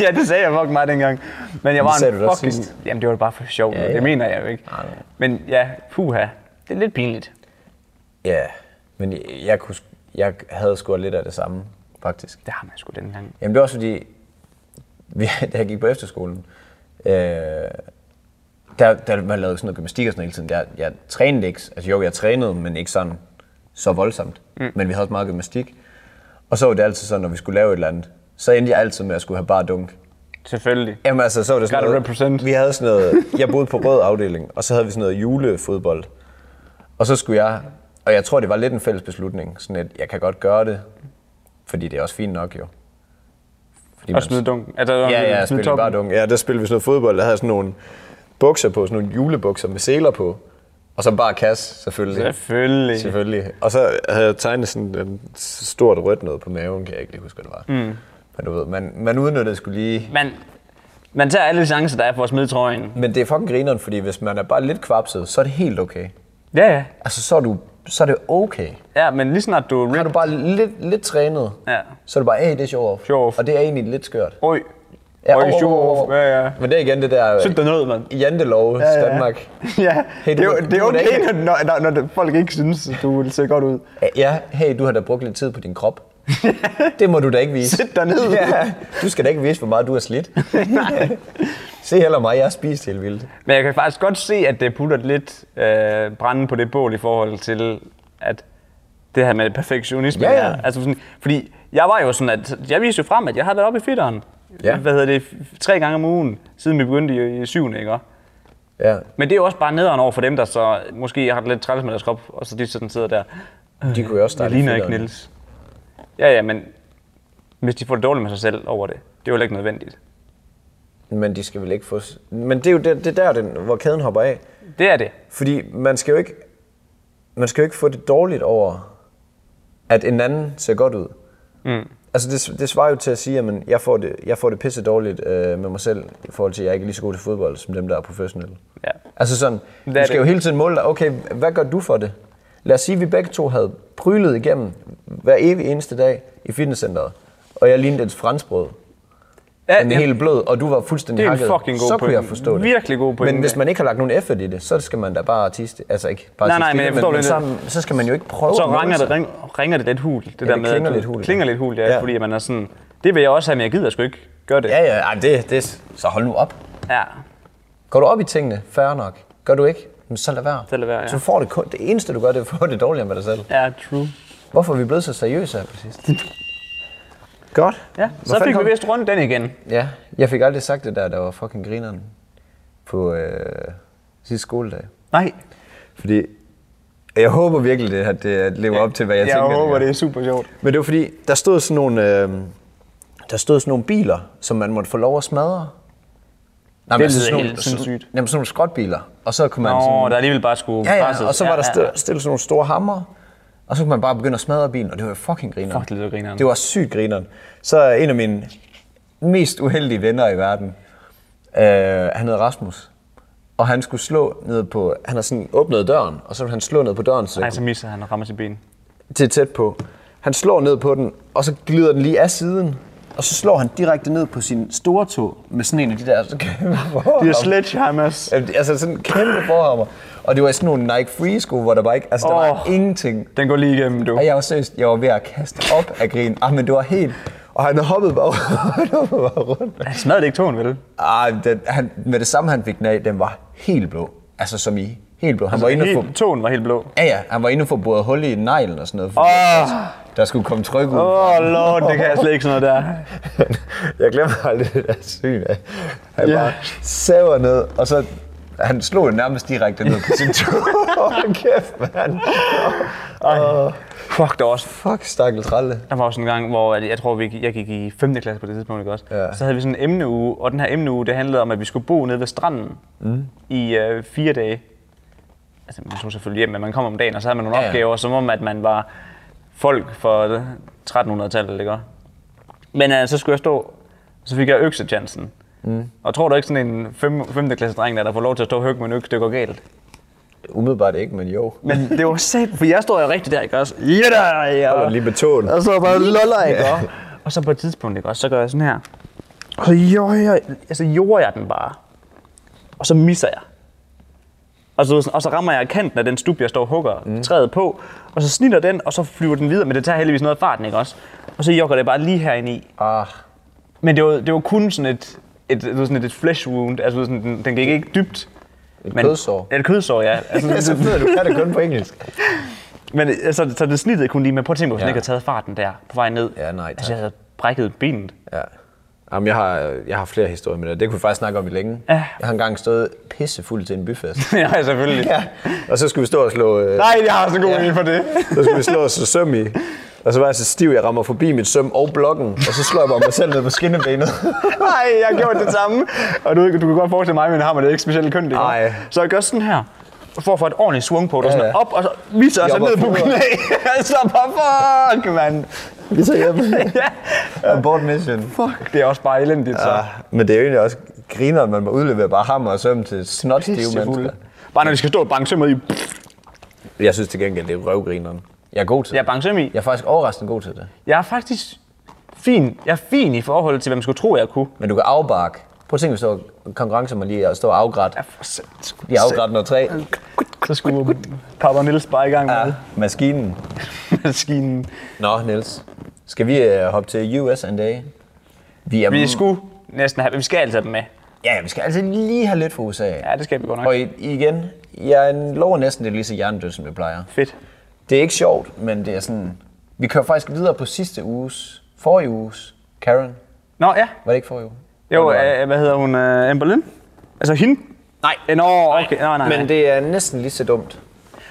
ja, det sagde jeg fucking meget dengang. Men jeg var
sagde du da
en fucking...
sidst.
Jamen, det var bare for sjov.
Ja,
Ja,
ja.
ja. Det mener jeg jo ikke.
Nej, nej.
Men ja, puha. Det er lidt pinligt.
Ja, men jeg, jeg, kunne, sk- jeg havde sgu lidt af det samme, faktisk.
Det har man sgu dengang.
Jamen det var også fordi, vi, da jeg gik på efterskolen, øh, der, der man lavede sådan noget gymnastik og sådan noget hele tiden. Jeg, jeg trænede ikke. Altså jo, jeg trænede, men ikke sådan så voldsomt. Mm. Men vi havde også meget gymnastik. Og så var det altid sådan, når vi skulle lave et eller andet, så endte jeg altid med at skulle have bare dunk.
Selvfølgelig.
Jamen altså, så var det sådan
Gotta
noget,
represent.
Vi havde sådan noget, jeg boede på rød afdeling, og så havde vi sådan noget julefodbold. Og så skulle jeg, og jeg tror, det var lidt en fælles beslutning, sådan at jeg kan godt gøre det, fordi det er også fint nok jo. Fordi
Og smide dunken. Altså,
Ja, ja,
smide
spillede
toppen.
bare dunk. Ja, der spillede vi sådan noget fodbold, der havde sådan nogle bukser på, sådan nogle julebukser med seler på. Og så bare kasse, selvfølgelig.
Selvfølgelig.
Selvfølgelig. Og så havde jeg tegnet sådan en stort rødt noget på maven, kan jeg ikke lige huske, hvad det var. Mm. Men du ved, man, man udnyttede skulle lige...
Man, man tager alle chancer, der er for at smide trøjen.
Men det er fucking grineren, fordi hvis man er bare lidt kvapset, så er det helt okay.
Ja, ja.
Altså, så er, du, så er det okay.
Ja, men lige snart du
Har
rip...
du bare lidt, lidt trænet,
Ja.
så er det bare, hey, det er sjovt.
Show off.
Og det er egentlig lidt skørt.
Øj.
Ja, oh,
Øj,
åh, åh,
show
åh,
off.
åh.
Ja, ja.
Men det er igen det der øh,
Sygt dig noget, mand.
jantelov ja, ja. Danmark.
ja,
Hey,
det, er,
du-
jo- det er
du er da
okay,
ikke-
når, når, når, når, folk ikke synes, at du ser godt ud.
Ja, hey, du har da brugt lidt tid på din krop. det må du da ikke vise.
Sæt dig ned.
Ja, du skal da ikke vise, hvor meget du har slidt. Se heller mig, jeg har spist helt vildt.
Men jeg kan faktisk godt se, at det putter lidt øh, branden på det bål i forhold til, at det her med perfektionisme.
Ja, ja.
er. Altså sådan, fordi jeg var jo sådan, at jeg viste jo frem, at jeg havde været oppe i fitteren.
Ja.
Hvad hedder det? f- Tre gange om ugen, siden vi begyndte i, i syvende, ikke? også?
Ja,
Men det er jo også bare nederen over for dem, der så måske har det lidt træls med deres krop, og så de sådan sidder der.
de kunne jo også
Jeg
starte i
ligner ikke
fedteren.
Niels. Ja, ja, men hvis de får det dårligt med sig selv over det, det er jo heller ikke nødvendigt.
Men de skal vel ikke få... s- Men det er jo det, det er der, den, hvor kæden hopper af.
Det er det.
Fordi man skal jo ikke, man skal jo ikke få det dårligt over, at en anden ser godt ud. Mm. Altså det, det svarer jo til at sige, at jeg får det, jeg får det pisse dårligt øh, med mig selv, i forhold til, at jeg ikke er lige så god til fodbold, som dem, der er professionelle.
Ja.
Altså sådan, du
er
skal
det.
jo hele tiden måle dig, okay, hvad gør du for det? Lad os sige, at vi begge to havde prylet igennem hver evig eneste dag i fitnesscenteret, og jeg lignede et franskbrød.
Ja,
Den er
ja,
helt blød, og du var fuldstændig
Det er en
hakket.
fucking god
Så kunne
pointe.
jeg forstå det.
Virkelig god pointe.
Men hvis man ikke har lagt nogen effort i det, så skal man da bare tiste. Altså ikke bare
Nej,
tie
nej, men
stille,
jeg forstår
men,
det
så, så, skal man jo ikke prøve
så
at måle
ringer det,
sig.
ring, ringer det lidt hul. Det, der
det
med, at
klinger
du-
lidt hult, ja.
Klinger lidt hul, ja,
Ja.
Fordi man er sådan, det vil jeg også have, men jeg gider sgu ikke gøre det.
Ja, ja, ej, det, det, så hold nu op.
ja.
Går du op i tingene, fair nok. Gør du ikke, men så lad være.
Så lad være, ja.
Så får det, kun, det eneste, du gør, det er at få det dårligere med dig selv.
ja true.
Hvorfor er vi blevet så seriøse her præcis? Godt.
Ja,
Hvor
så
fanden
fik vi
kom-
vist rundt den igen.
Ja, jeg fik aldrig sagt det der, der var fucking grineren på øh, sidste skoledag.
Nej,
Fordi jeg håber virkelig, det her det lever op til, hvad jeg,
jeg, jeg
tænker.
håber,
gør.
det er super sjovt.
Men det var fordi, der stod sådan nogle, øh, der stod sådan nogle biler, som man måtte få lov at smadre. Nej, men
Det
altså
lyder
sådan
helt
nogle- sådan-
sindssygt.
Jamen sådan nogle skrotbiler, og så kunne man
Nå,
sådan,
der er alligevel bare skulle
ja,
presses.
ja, og så var der stillet, stillet sådan nogle store hammer, og så kunne man bare begynde at smadre bilen, og det var jo fucking griner.
Fuck, det lyder grineren.
Det var sygt grineren. Så er en af mine mest uheldige venner i verden, øh, han hed Rasmus, og han skulle slå ned på, han har sådan åbnet døren, og så ville han slå ned på døren, så
Nej, så misser han og rammer sit ben.
til tæt på. Han slår ned på den, og så glider den lige af siden. Og så slår han direkte ned på sin store tog med sådan en af de der så kæmpe
De er
forhammer.
sledgehammers.
Jamen, Altså sådan en kæmpe forhammer. Og det var i sådan nogle Nike Free sko, hvor der bare ikke, altså der var
Åh.
ingenting.
Den går lige igennem, du.
Og jeg var seriøst, jeg var ved at kaste op af grin. Ah, men det var helt... Og han hoppede bare, han hoppede bare rundt.
Han smadrede det ikke tåen, vel?
Ah, den, han, med det samme han fik den af, den var helt blå. Altså som i helt blå. Han var inde og få
Helt, tåen var helt blå.
Ja, ja, han var inde og få boret hul i neglen og sådan noget, fordi
Åh.
der skulle komme tryk ud.
Åh, oh, lord, det kan jeg slet ikke sådan noget der.
jeg glemmer aldrig det der syn af. Han
Ja.
bare saver ned, og så han slog det nærmest direkte ned på sin tur. Åh, kæft, mand.
Ej. Fuck, der var også
Fuck, stakkel tralle.
Der var også en gang, hvor at jeg tror, vi, gik- jeg gik i 5. klasse på det tidspunkt, ikke også?
Ja.
Så havde vi sådan en emneuge, og den her emneuge, det handlede om, at vi skulle bo nede ved stranden mm. i øh, fire dage. Altså, man tog selvfølgelig hjem, men man kom om dagen, og så havde man nogle
Ja,
ja,
ja.
opgaver, som om, at man var folk for øh, 1300-tallet, ikke også? Men øh, så skulle jeg stå, så fik jeg øksechancen. Mm. Og tror du ikke sådan en 5. klasse dreng, der, der får lov til at stå og hugge med en økse, det går galt?
Umiddelbart ikke, men jo.
Men det var sæt, for jeg står jo rigtig der, ikke også? Ja, der, ja.
Holder lige på tåen.
Og så bare loller, ikke også? Og så på et tidspunkt, ikke også, så gør jeg sådan her. Og så jorder jeg, altså jorder jeg den bare. Og så misser jeg. Altså, Og så, og så rammer jeg kanten af den stup, jeg står og hugger mm. træet på. Og så snitter den, og så flyver den videre, men det tager heldigvis noget af farten, ikke også? Og så jokker det bare lige herinde i.
Ah,
Men det var, det var kun sådan et, et, du ved, sådan et, et flesh wound, altså du ved, sådan, den, den gik ikke dybt.
et
Men-
kødsår.
Ja, et kødsår, ja. Altså,
Det er så fedt, at du kan det kun på engelsk.
Men øh, så, så det snittede kun lige, men prøv at tænke på, hvis ja.
Ja.
ikke havde taget farten der på vej ned.
Ja, nej, tak.
Altså, jeg havde brækket benet.
Ja. Jamen, jeg har, jeg har flere historier med det. Det kunne vi faktisk snakke om i længe.
Ja.
Jeg har engang stået pissefuld til en byfest.
ja, selvfølgelig.
ja. Og så skulle vi stå og slå... Øh,
Nej, jeg har så god ja. for det.
Så skulle vi slå os og søm i. Og så var jeg så stiv, jeg rammer forbi mit søm og blokken, og så slår jeg bare mig selv ned på skinnebenet.
Nej, jeg har gjort det samme. Og du, du kan godt forestille mig, men har man det er ikke specielt kønt. ikke?
Ej.
Så jeg gør sådan her. For at få et ordentligt swung på, og sådan
Ja, ja.
op, og så viser jeg så
Jobber
ned på
forud.
knæ. så bare, fuck, mand.
Vi tager hjem.
ja.
Abort mission.
Fuck, det er også bare elendigt, så.
Ja, men det er jo egentlig også griner, at man må udlevere bare hammer og søm til snotstive mennesker.
Pissefulde. Bare når de skal stå og banke søm ud i.
Jeg synes til gengæld, det er røvgrineren. Jeg er god til
Jeg
det.
banke søm i.
Jeg er faktisk overraskende god til det.
Jeg er faktisk fin. Jeg er fin i forhold til, hvad man skulle tro, jeg kunne.
Men du kan afbark. Prøv at tænke, hvis der var konkurrencer med lige at stå og afgræt.
Ja, for sat-
Lige afgræt noget træ.
Så skulle Papa Niels bare i gang med
Ja, maskinen.
maskinen.
Nå, Niels. Skal vi øh, hoppe til US en dag? Vi er,
Vi skulle næsten have, vi skal altid have dem med.
Ja, vi skal altså lige have lidt for USA.
Ja, det skal vi godt nok.
Og i- igen, jeg lover næsten, det er lige så hjernedødt, som det plejer.
Fedt.
Det er ikke sjovt, men det er sådan... Vi kører faktisk videre på sidste uges, forrige uges, Karen.
Nå ja,
Var det ikke forrige uge?
jo,
Eller-
øh, hvad hedder hun, øh, Amber Lynn? Altså hende? Nej. Nå, okay, nej, nej, nej.
Men det er næsten lige så dumt.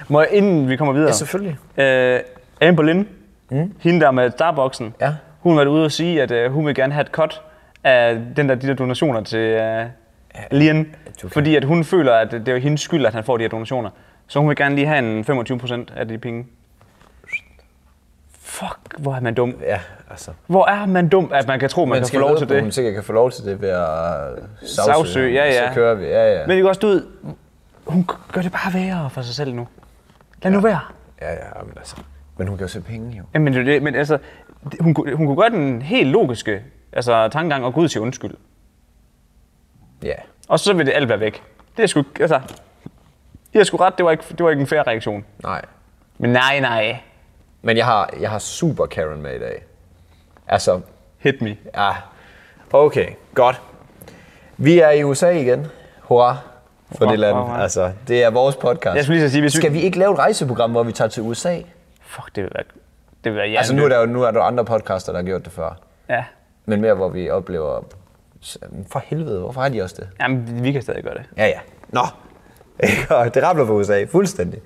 Må jeg, inden vi kommer videre? Ja,
selvfølgelig.
Øh, Amber Lynn, mm. hende der med Starbucksen,
Ja.
hun var ude og sige, at øh, hun vil gerne have et cut af den der, de der donationer til uh, Lien,
du kan-
fordi at hun føler, at det er hendes skyld, at han får de her donationer. Så hun vil gerne lige have en 25 procent af de penge. Fuck, hvor er man dum.
Ja, altså.
Hvor er man dum, at man kan tro, man, man kan få lov til det.
Hun sikkert kan få lov til det ved at savsøge.
Sagsøge, ja, ja.
Så kører vi, ja, ja.
Men det kan også, du ved, hun g- gør det bare værre for sig selv nu. Lad ja. nu være.
Ja, ja, men altså. Men hun kan jo se penge, jo.
Jamen, det, er det, men altså, det- hun, kunne- hun kunne gøre den helt logiske altså, tankegang og gå ud til undskyld.
Ja.
Og så vil det alt være væk. Det er sgu, altså, jeg har sgu ret, det var, ikke, det var ikke en fair reaktion.
Nej.
Men nej, nej.
Men jeg har, jeg har super Karen med i dag. Altså,
Hit me.
ja. Okay, godt. Vi er i USA igen. Hurra for
Hurra,
det land.
hurra.
Altså, det er vores podcast.
Jeg skulle lige så sige, hvis vi-
Skal vi ikke lave et rejseprogram, hvor vi tager til USA?
Fuck, det vil være, det vil være
Altså, nu er der jo nu er der jo andre podcaster, der har gjort det før.
Ja. Men...
Men mere, hvor vi oplever... For helvede, hvorfor har de også det?
Jamen, vi kan stadig gøre det.
Ja, ja. Nå. Og det ramler på USA fuldstændig.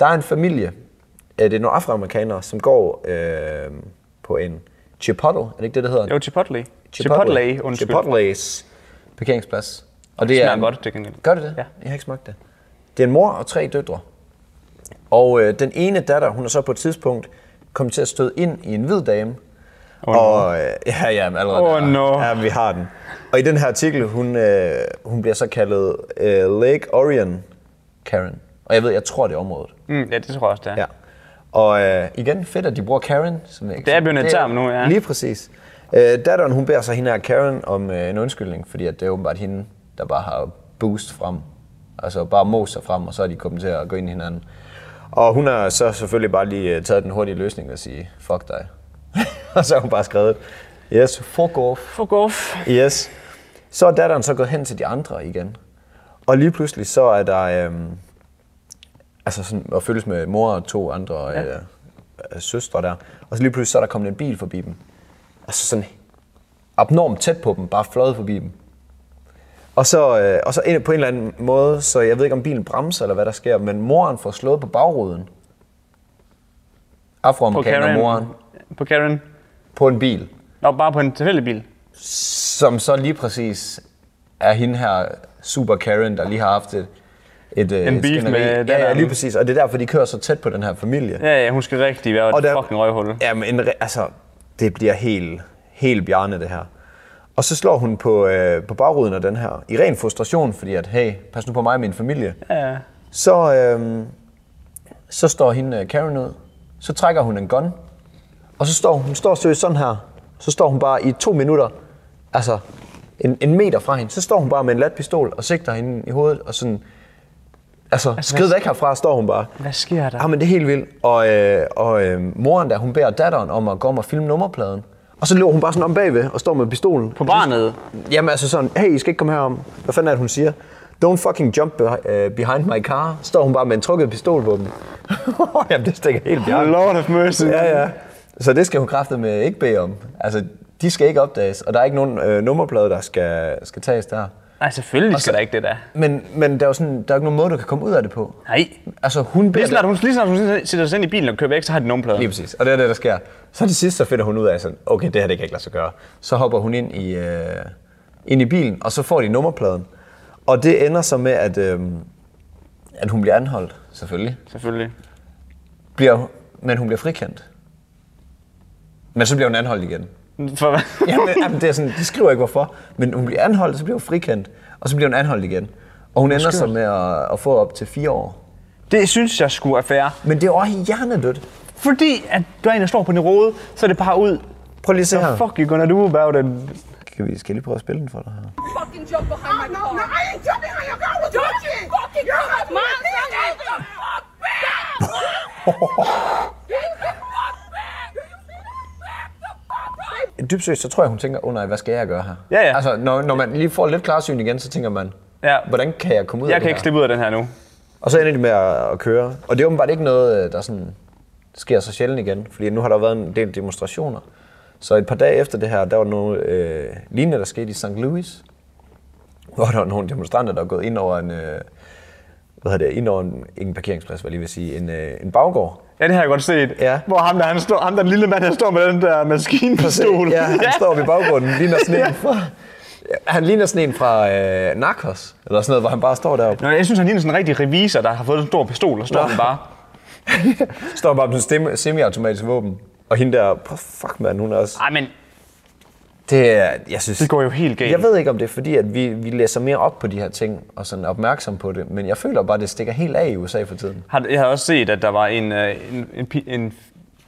Der er en familie, øh, det er nogle afroamerikanere, som går øh, på en Chipotle, er det ikke det, det hedder?
Jo, Chipotle. Chipotle, undskyld.
Chipotle's parkeringsplads. Og det
smager godt, det kan-
Gør det det?
Ja.
Jeg har ikke smagt det. Det er en mor og tre døtre. Og øh, den ene datter, hun er så på et tidspunkt kommet til at støde ind i en hvid dame. Oh, og, øh, ja, ja, men allerede.
Oh,
der.
no.
Ja, vi har den. Og i den her artikel, hun, øh, hun bliver så kaldet øh, Lake Orion Karen. Og jeg ved, jeg tror, det er området.
Mm, ja, det tror jeg også, det er.
Ja. Og øh, igen, fedt, at de bruger Karen. Som jeg,
Det er blevet en term nu, ja.
Lige præcis. Øh, datteren, hun beder så hende her Karen om øh, en undskyldning, fordi at det er åbenbart hende, der bare har boost frem. Altså bare moser sig frem, og så er de kommet til at gå ind i hinanden. Og hun har så selvfølgelig bare lige øh, taget den hurtige løsning og sige, fuck dig. og så har hun bare skrevet, yes, fuck off.
Fuck off.
Yes. Så er datteren så gået hen til de andre igen. Og lige pludselig så er der... Øhm, altså sådan at følges med mor og to andre ja. øh, øh, søstre der. Og så lige pludselig så er der kommet en bil forbi dem. Og så sådan abnormt tæt på dem, bare fløjet forbi dem. Og så, øh, og så ind, på en eller anden måde, så jeg ved ikke om bilen bremser eller hvad der sker, men moren får slået på bagruden.
På
Afroamerikaner
Karen.
moren
På Karen.
på en bil.
Nå, bare på en tilfældig bil.
som så lige præcis er hende her super Karen, der lige har haft et, et øh,
En
et
beef
skænderi.
med
ja, ja,
datteren.
lige præcis. Og det er derfor, de kører så tæt på den her familie.
Ja, ja, hun skal rigtig være et fucking røvhul.
Jamen, en, re- altså, det bliver helt, helt bjarne, det her. Og så slår hun på, øh, på bagruden af den her, i ren frustration, fordi at, hey, pas nu på mig og min familie.
Ja.
Så, øh, så står hende øh, Karen ud, så trækker hun en gun, og så står hun står seriøst sådan her, så står hun bare i to minutter, altså en, en meter fra hende, så står hun bare med en lat pistol og sigter hende i hovedet, og sådan, altså, skrid væk herfra, står hun bare.
Hvad sker der?
Ja, men det er helt vildt. Og, øh, og øh, moren der, hun beder datteren om at gå om og filme nummerpladen. Og så løber hun bare sådan om bagved og står med pistolen.
På barnet.
Jamen altså sådan, hey, I skal ikke komme herom. Hvad fanden er det, hun siger? Don't fucking jump beh- øh, behind my car. Står hun bare med en trukket pistol på dem. Jamen, det stikker helt bjerg.
Lord of mercy.
Ja, ja. Så det skal hun kraftet med ikke bede om. Altså, de skal ikke opdages, og der er ikke nogen øh, nummerplade, der skal, skal tages der.
Nej, selvfølgelig
så-
skal der ikke det der.
Men, men der er jo sådan, der er ikke nogen måde, du kan komme ud af det på.
Nej.
Altså, hun beder
Lige snart hun, lige snart hun sætter sig ind i bilen og kører væk, så har de nummerplader.
Lige præcis. Og det er det, der sker. Så til sidst, så finder hun ud af, sådan, okay, det her det kan ikke lade sig gøre. Så hopper hun ind i, øh, ind i bilen, og så får de nummerpladen. Og det ender så med, at, øh, at hun bliver anholdt, selvfølgelig.
Selvfølgelig.
Bliver, men hun bliver frikendt. Men så bliver hun anholdt igen.
For hvad?
Jamen, øh, jamen, det er sådan, de skriver ikke hvorfor, men hun bliver anholdt, så bliver hun frikendt, og så bliver hun anholdt igen. Og hun ender så med at, at få op til fire år.
Det synes jeg skulle er fair.
Men det er jo også hjernedødt.
Fordi at du er en, der slår på din rode, så er det bare ud.
Prøv lige at se
What the
her.
fuck you gonna do about it?
Kan vi, skal jeg lige prøve at spille den for dig her?
fucking jump behind my
Oh, no, no,
car.
I ain't jumping on your car. What
Don't
the
you
fuck?
fucking
You're a
jump my
man.
son. Get the fuck back! Get the fuck back! Back the fuck up!
dybt seriøst, så tror jeg, hun tænker, oh nej, hvad skal jeg gøre her?
Ja, ja.
Altså, når, når man lige får lidt klarsyn igen, så tænker man,
Ja.
hvordan kan jeg komme ud af
Jeg
det
kan
her?
ikke slippe ud af den her nu.
Og så ender de med at, at køre. Og det er åbenbart ikke noget, øh, der sådan sker så sjældent igen, fordi nu har der været en del demonstrationer. Så et par dage efter det her, der var noget øh, lignende, der skete i St. Louis, hvor der var nogle demonstranter, der var gået ind over en, øh, hvad hedder det, ind over en, ikke en parkeringsplads, hvad jeg lige vil sige, en, øh, en baggård.
Ja, det har jeg godt set.
Ja.
Hvor ham der, han står, ham der den lille mand, han står med den der maskinpistol.
Ja, han står oppe i baggrunden, ligner sneen fra... Han ligner sneen fra øh, Narcos, eller sådan noget, hvor han bare står deroppe.
Nå, jeg synes, han ligner sådan en rigtig revisor, der har fået en stor pistol, og står
Nå.
den bare.
Står bare med sådan en semi-automatisk våben. Og hende der, prøv fuck mand, hun er også...
Ej, men
Det, er- jeg synes,
det går jo helt galt.
Jeg ved ikke, om det er fordi, at vi, vi læser mere op på de her ting, og sådan er opmærksom på det, men jeg føler bare, at det stikker helt af i USA for tiden.
Har- Jeg har også set, at der var en, øh, en, en, pi- en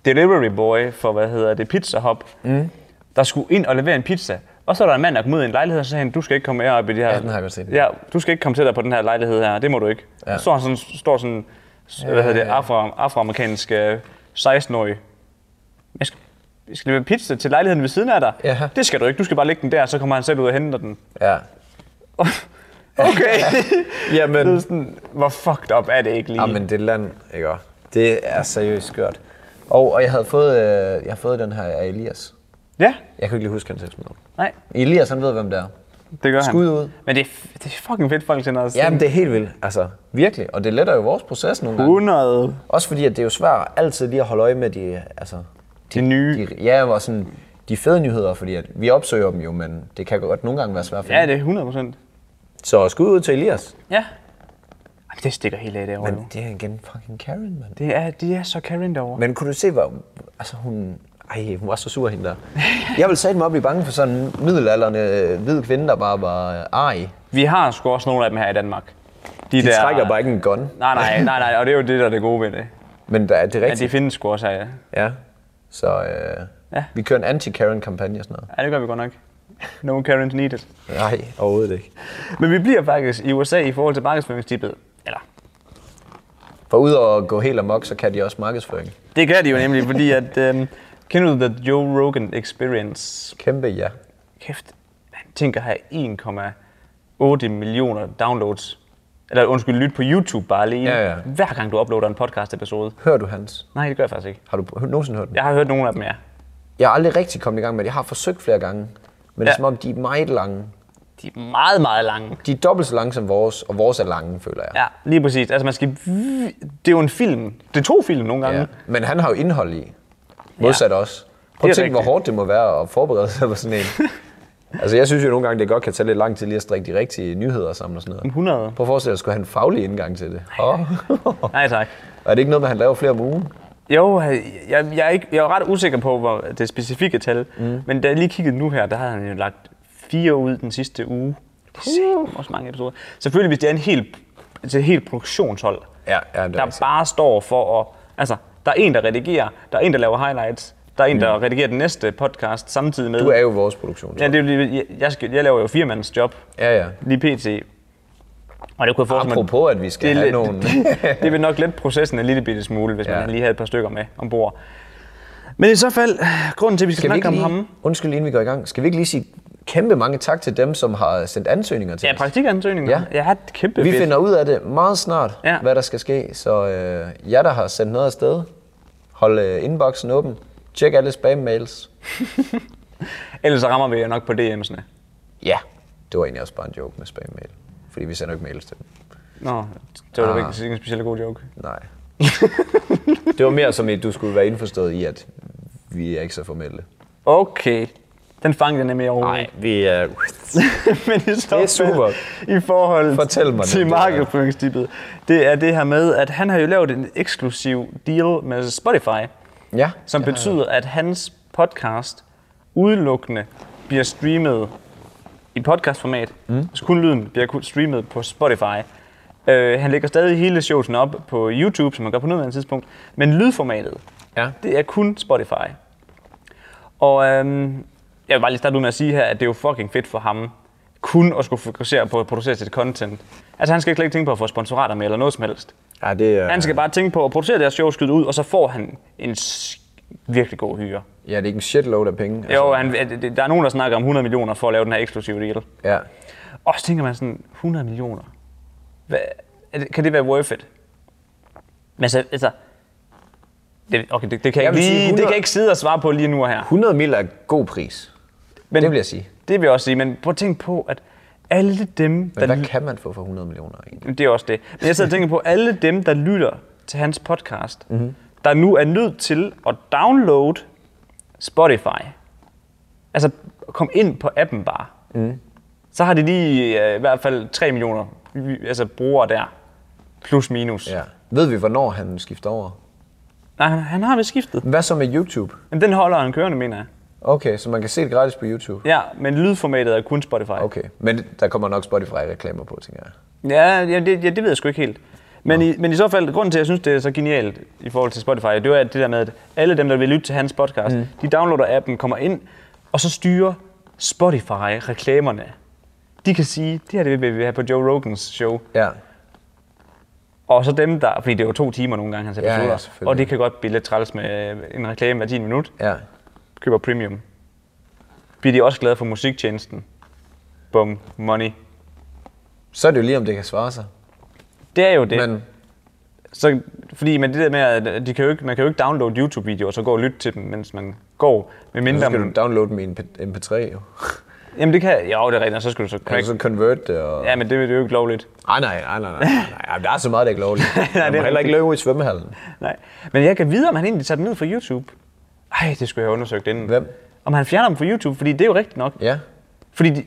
delivery boy for, hvad hedder det, Pizza Hop, mm. der skulle ind og levere en pizza. Og så er der en mand, der kom ud i en lejlighed og sagde, du skal ikke komme her op i det her.
Ja, den har jeg godt set.
Ja, du skal ikke komme tættere på den her lejlighed her, det må du ikke.
Ja.
Ja. Så står han sådan, står sådan hvad hedder det, afro, afroamerikansk øh, 16-årig. Jeg skal, jeg skal levere pizza til lejligheden ved siden af dig.
Ja.
Det skal du ikke, du skal bare lægge den der, så kommer han selv ud og henter den.
Ja.
Okay.
Jamen,
det er sådan, hvor fucked up er det ikke lige?
Jamen, det land, ikke også? Det er seriøst skørt. Og, og jeg havde fået, øh, jeg har fået den her af Elias.
Ja,
Jeg kan ikke lige huske hans efternavn.
nej.
Elias, han ved, hvem det er.
Det gør han.
Skud ud.
Men det er, f- det er fucking fedt, folk sender os
Jamen, det er helt vildt. Altså, virkelig. Og det letter jo vores proces nogle gange.
100.
Også fordi, at det er jo svært altid lige at holde øje med de, altså,
De nye.
de, ja, og sådan, de fede nyheder, fordi at vi opsøger dem jo, men det kan godt nogle gange være svært for
Ja, det er 100 procent.
Så skud ud til Elias.
Ja. Jamen, det stikker helt af derovre.
Men
Men...
det er igen fucking Karen, mand.
Det er, de er så Karen derovre. Men...
Men kunne du se, hvor... Altså, hun... Ej, hun var så sur, hende der. Jeg ville satme op blive bange for sådan en middelalderende øh, hvid kvinde, der bare var øh, arg.
Vi har sgu også nogle af dem her i Danmark.
De der... trækker bare ikke en gun.
Nej, nej, nej, nej, og det er jo det, der er det gode ved det.
Men der, er det er
Men de
rigtigt.
findes sgu også her, ja.
Ja. Så øh, ja.
Ja.
vi kører en anti-Karen-kampagne og sådan noget.
ja. det gør vi godt nok. No Karens needed.
Nej, overhovedet ikke.
Men vi bliver faktisk i USA i forhold til markedsføringstippet. Eller,
For udover at gå helt amok, så kan de også markedsføring.
det gør de jo nemlig, fordi at... Øhm, kender du The Joe Rogan Experience?
Kæmpe ja.
kæft, han tænker at have 1,8 millioner downloads. Eller undskyld, lyt på YouTube bare alene.
Ja, ja.
Hver gang du uploader en podcast episode.
Hører du hans?
Nej, det gør jeg faktisk ikke.
Har du nogensinde hørt den?
Jeg har hørt nogle af dem, ja.
Jeg har aldrig rigtig kommet i gang med det. Jeg har forsøgt flere gange. Men det er
Ja.
som om, de er meget lange.
De er meget, meget lange.
De er dobbelt så lange som vores, og vores er lange, føler jeg.
Ja, lige præcis. Altså man skal... Det er jo en film. Det er to film nogle gange.
Ja. Men han har jo indhold i. Modsat ja. os. Prøv
Det
at
er
tænke, hvor
rigtigt.
hårdt det må være at forberede sig på sådan en. altså, jeg synes jo nogle gange, det godt kan tage lidt lang tid lige at strikke de rigtige nyheder sammen og sådan noget.
100.
Prøv at forestille dig, at skulle have en faglig indgang til det. Oh.
Nej, tak.
er det ikke noget med, at han laver flere om ugen?
Jo, jeg, jeg, er ikke, jeg er ret usikker på hvor det specifikke tal, mm. men da jeg lige kiggede nu her, der har han jo lagt fire ud den sidste uge. Det er satme også mange episoder. Selvfølgelig, hvis det er en helt, altså et helt produktionshold,
Ja, ja, det er
der
rigtigt.
bare står for at... Altså, der er en, der redigerer, der er en, der laver highlights, der er en, der redigerer den næste podcast samtidig med...
Mm. Du er jo vores produktion.
Ja, det er, jo lige- jeg, jeg, skal, jeg laver jo firemandens job,
ja. ja.
lige pt. Og det kunne jeg forestille mig-
Apropos, at vi
det,
skal
er
have
lidt-
nogle...
det, det vil nok let processen en lille bitte smule, hvis
Ja.
ja. man lige havde et par stykker med ombord. Men i så fald, grunden til, at vi skal,
Skal vi
snakke
ikke
om
lige,
ham,
undskyld, inden vi går i gang. Skal vi ikke lige sige kæmpe mange tak til dem, som har sendt ansøgninger til
ja,
os?
praktikansøgninger,
Ja.
ja. jeg har et kæmpe
Vi
fedt.
finder ud af det meget snart, ja.
Ja.
hvad der skal ske. Så øh, jer, der har sendt noget afsted, hold øh, inboxen åben. Tjek alle spam-mails.
Ellers så rammer vi jo nok på DM'sne.
Ja, det var egentlig også bare en joke med spam-mail. Fordi vi sender jo ikke mails til dem.
Nå, det var
Ah.
ah. ikke ikke en specielt god joke.
Nej. det var mere som et, du skulle være indforstået i, at vi er ikke så formelle.
Okay, den fangede jeg nemlig overhovedet.
Nej, vi er...
Men i det
er super.
I forhold
Fortæl mig
til
det, det er.
markedsføringstippet, det er det her med, at han har jo lavet en eksklusiv deal med Spotify,
Ja.
som
det har
betyder, at hans podcast udelukkende bliver streamet i podcastformat, mm. så kun lyden bliver kun streamet på Spotify. Øh, han lægger stadig hele showsen op på YouTube, som han gør på nuværende tidspunkt, men lydformatet,
Ja.
det er kun Spotify. Og øhm, jeg vil bare lige starte ud med at sige her, at det er jo fucking fedt for ham, kun at skulle fokusere på at producere sit content. Altså han skal slet ikke tænke på at få sponsorater med eller noget som helst.
Ja, det er...
Han skal bare tænke på at producere deres show, skyde det ud, og så får han en sk- virkelig god hyre.
Ja, det er ikke en shitload af penge. Altså,
Jo, han, der er nogen, der snakker om 100 millioner for at lave den her eksklusive deal.
Ja.
Og så tænker man sådan, 100 millioner? Hvad, er det, kan det være worth it? Men så, altså, det, okay, det, det, kan jeg
Jeg vil
ikke
sige
lige,
100
det kan jeg ikke sidde og svare på lige nu og her.
100 mil er god pris.
Men,
det vil jeg sige.
Det vil jeg også sige, men prøv at tænke på, at alle dem,
Men
der...
hvad kan man få for 100 millioner egentlig? Mhm.
Det er også det. Men jeg sidder og tænker på, alle dem, der lytter til hans podcast, mm-hmm. der nu er nødt til at downloade Spotify. Altså, kom ind på appen bare. Mm.
Mhm.
Så har de lige øh, i hvert fald 3 millioner vi- altså, brugere der. Plus minus.
Ja. Ved vi, hvornår han skifter over?
Nej, han, han har vist skiftet.
Hvad så med YouTube?
Men den holder han kørende, mener jeg.
Okay, så man kan se det gratis på YouTube.
Ja, men lydformatet er kun Spotify.
Okay, men der kommer nok Spotify-reklamer på, tænker jeg.
Ja, ja, det, ja, det ved jeg sgu ikke helt. Men i, men i så fald, grunden til, at jeg synes, det er så genialt i forhold til Spotify, det er det der med, at alle dem, der vil lytte til hans podcast, mm. de downloader appen, kommer ind, og så styrer Spotify reklamerne. De kan sige, det her det vil vi have på Joe Rogans show.
Ja.
Og så dem, der, fordi det er jo to timer nogle gange, hans
ja,
episoder,
selvfølgelig.
og det kan godt blive lidt træls med øh, en reklame hver 10 minut,
Ja.
køber premium. Bliver de også glade for musiktjenesten. Bum, money.
Så er det jo lige, om det kan svare sig.
Det er jo det.
Men
Så, fordi men det der med, at de kan jo ikke, man kan jo ikke downloade YouTube-videoer, og så gå og lytte til dem, mens man går. Med
så
mindre
skal
man,
du downloade min MP3, jo.
Jamen det kan Jo, det er rigtigt, og så skal du så
Kan du
crack.
så convert det og...
Ja, men det, det er jo ikke lovligt.
Ej, nej, nej, nej, nej, nej. Jamen, der er så meget, der er ikke lovligt. nej, det
er
er heller ikke
rigtigt.
løbe i svømmehallen.
Nej. Men jeg kan vide, om han egentlig tager den ned fra YouTube. Ej, det skulle jeg have undersøgt inden.
Hvem?
Om han fjerner dem fra YouTube, fordi det er jo rigtigt nok.
Ja.
Fordi de,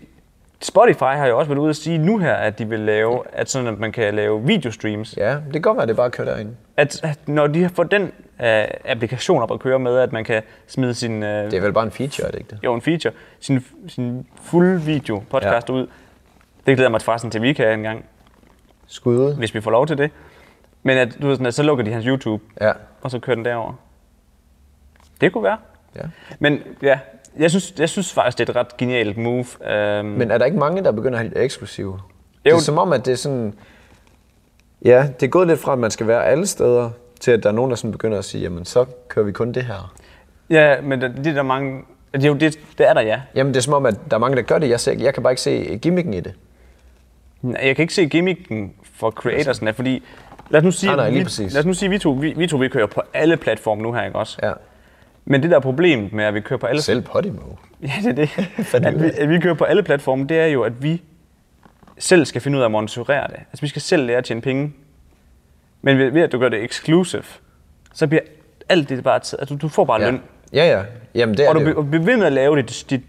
Spotify har jo også været ude at sige nu her, at de vil lave, at sådan at man kan lave videostreams.
Ja, det kan godt være, det er bare at køre derinde.
At, at når de har fået den øh, applikation op at køre med, at man kan smide sin... Øh,
Det er vel bare en feature, er det ikke det?
jo en feature, sin, sin fuld video podcast ja.
Ja.
ud. Det glæder jeg mig forresten til, at vi kan en gang,
Skud.
hvis vi får lov til det. Men at, du ved sådan, at så lukker de hans YouTube,
Ja.
og så kører den derover. Det kunne være.
ja.
Men ja, jeg synes, jeg synes faktisk, det er et ret genialt move. Øhm,
Men er der ikke mange, der begynder at have eksklusive? Jo. Det
Jo.
er som om, at det er sådan... Ja, det er gået lidt fra, at man skal være alle steder, til at der er nogen, der sådan begynder at sige, jamen så kører vi kun det her.
ja, men det, det er der mange... Det er jo det, det er der, ja.
Jamen det er som om, at der er mange, der gør det. Jeg, ser, ikke- jeg kan bare ikke se eh, gimmicken i det.
Nej, Jeg kan ikke se gimmicken for creatorsne, fordi... Lad os nu sige,
Nej, nej, lige
vi,
præcis.
lad os nu sige, vi to, vi, vi to vi kører på alle platforme nu her, ikke også?
Ja.
Men det der er problemet med, at vi kører på alle
Selv Podimo.
Ja, det er det.
Fandt
at,
ud
vi,
af.
at vi kører på alle platforme, det er jo, at vi selv skal finde ud af at monitorere det. Altså, vi skal selv lære at tjene penge. Men ved, ved at du gør det exclusive, så bliver alt det bare... taget- Altså, du får bare
Ja.
løn.
ja, ja. Jamen det er
Og du
det
be-
jo.
og bliver ved med at lave dit, dit,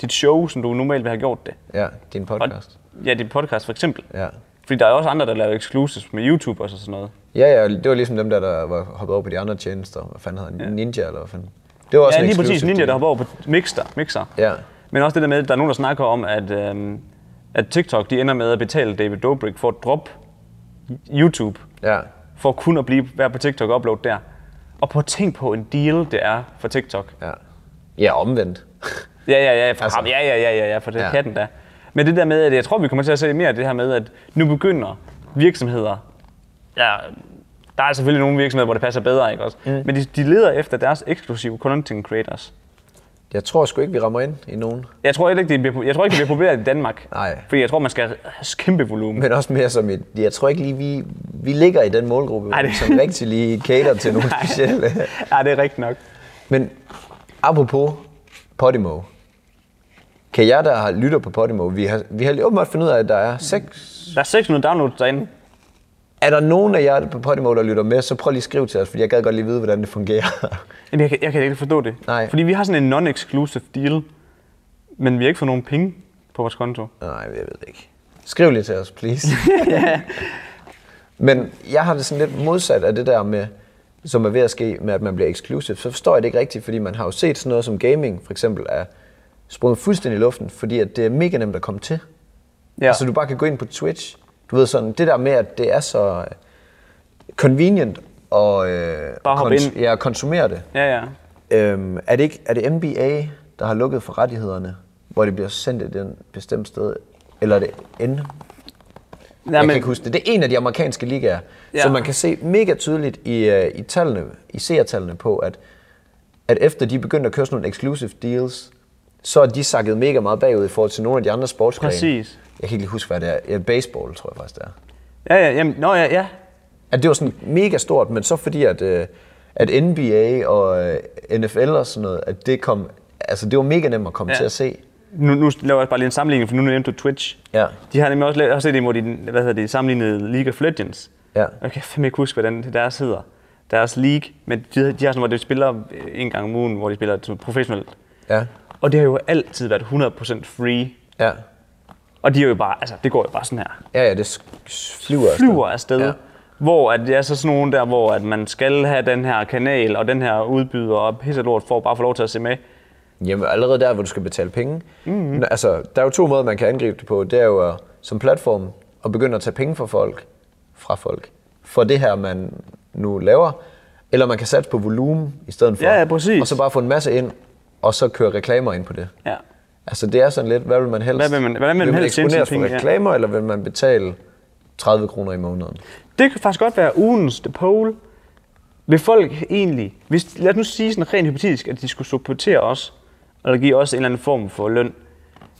dit show, som du normalt ville have gjort det.
Ja, din
Og,
podcast.
ja, dit podcast for eksempel.
Ja.
Fordi der er også andre, der laver exclusives med YouTube og så sådan noget.
Ja, ja, det var ligesom dem der, der var hoppet over på de andre tjenester. Hvad fanden hedder han? Ninja, eller hvad fanden? Det var også
Ja,
en
lige præcis.
exclusive
Ninja,
deal.
der hopper over på Mixer. mixer.
Ja.
Men også det der med, at der er nogen, der snakker om, at, øhm, at TikTok de ender med at betale David Dobrik for at droppe YouTube,
Ja.
for kun at blive, være på TikTok og uploade der. Og prøv at tænk på en deal, det er for TikTok.
Ja. Ja, omvendt.
Ja, ja, ja, for
Altså.
ham. Ja, ja, ja, ja, ja, for det ja.
Ja.
katten der. Men det der med, at jeg tror, vi kommer til at se mere af det her med, at nu begynder virksomheder, ja, der er selvfølgelig nogle virksomheder, hvor det passer bedre, ikke også? Mm. Men de, de leder efter deres eksklusive content creators.
Jeg tror sgu ikke, vi rammer ind i nogen.
Jeg tror ikke, det bliver, jeg tror ikke, det bliver populært i Danmark.
Nej.
Fordi jeg tror, man skal have kæmpe volumen.
Men også mere som et, jeg tror ikke lige, vi, vi ligger i den målgruppe,
Ej,
Ej,
det-
det... som rigtig lige cater til nogle specielle.
ja, det er rigtigt nok.
Men apropos Podimo. Kan jeg, der har lytter på Podimo, vi har, vi har lige åbenbart fundet ud af, at der er seks...
Der er 600 downloads derinde.
Er der nogen af jer på Podimo, der lytter med, så prøv lige at skrive til os, fordi jeg gad godt lige vide, hvordan det fungerer.
Jamen, Jeg kan, jeg kan ikke forstå det.
Nej.
Fordi vi har sådan en non-exclusive deal, men vi har ikke fået nogen penge på vores konto.
Nej, jeg ved det ikke. Skriv lige til os, please. Men jeg har det sådan lidt modsat af det der med, som er ved at ske med, at man bliver exclusive. Så forstår jeg det ikke rigtigt, fordi man har jo set sådan noget som gaming, for eksempel, er sprunget fuldstændig i luften, fordi at det er mega nemt at komme til.
Ja.
Altså, du bare kan gå ind på Twitch. Du ved sådan, det der med, at det er så øh, convenient og, øh,
Bare hoppe
kons-
ind.
ja, at konsumere det.
Ja, ja.
Øhm, er, det ikke, er det NBA, der har lukket for rettighederne, hvor det bliver sendt et den bestemt sted? Eller er det N?
Nej,
jeg
men,
kan ikke huske det. Det er en af de amerikanske ligaer,
Ja.
ja. som man kan se mega tydeligt i, øh, i tallene, i seertallene på, at, at efter de begyndte at køre sådan nogle exclusive deals, så er de sakket mega meget bagud i forhold til nogle af de andre sportsgrene.
Præcis.
Jeg kan ikke lige huske, hvad det er. Ja, baseball, tror jeg faktisk, det er.
Ja, ja, jamen, nå, ja, ja.
At det var sådan mega stort, men så fordi, at, øh, at NBA og øh, NFL og sådan noget, at det kom, altså det var mega nemt at komme
Ja.
ja. til at se.
Nu, nu laver jeg bare lige en sammenligning, for nu nævnte du Twitch.
Ja.
De har nemlig også, lavet, jeg har set det imod de, hvad hedder det, sammenlignede League of Legends.
Ja.
Og Jeg kan fandme ikke huske, hvordan det deres hedder. deres league, men de, de har sådan, hvor de spiller øh, en gang om ugen, hvor de spiller sådan professionelt.
Ja.
Og det har jo altid været 100% free.
Ja.
Og de er jo bare, altså, det går jo bare sådan her.
Ja, ja, det sk- s- flyver afsted.
Flyver afsted.
Ja.
Ja. Hvor at det er så sådan nogen der, hvor at man skal have den her kanal og den her udbyder og pisse lort for at bare få lov til at se med.
Jamen allerede der, hvor du skal betale penge.
Mhm.
Mm-hmm. Altså, der er jo to måder, man kan angribe det på. Det er jo at, som platform at begynde at tage penge fra folk, fra folk, for det her, man nu laver. Eller man kan satse på volumen i stedet for.
Ja, ja, præcis.
Og så bare få en masse ind, og så køre reklamer ind på det.
Ja.
Altså det er sådan lidt, hvad vil man helst?
Hvad vil man- hvordan vil man helst tjene
eksponeres
sine
for
penge, ja.
reklamer, eller vil man betale 30 kroner i måneden?
Det kan faktisk godt være ugens The Poll. Vil folk egentlig, hvis, lad os nu sige sådan rent hypotetisk, at de skulle supportere os, eller give os en eller anden form for løn,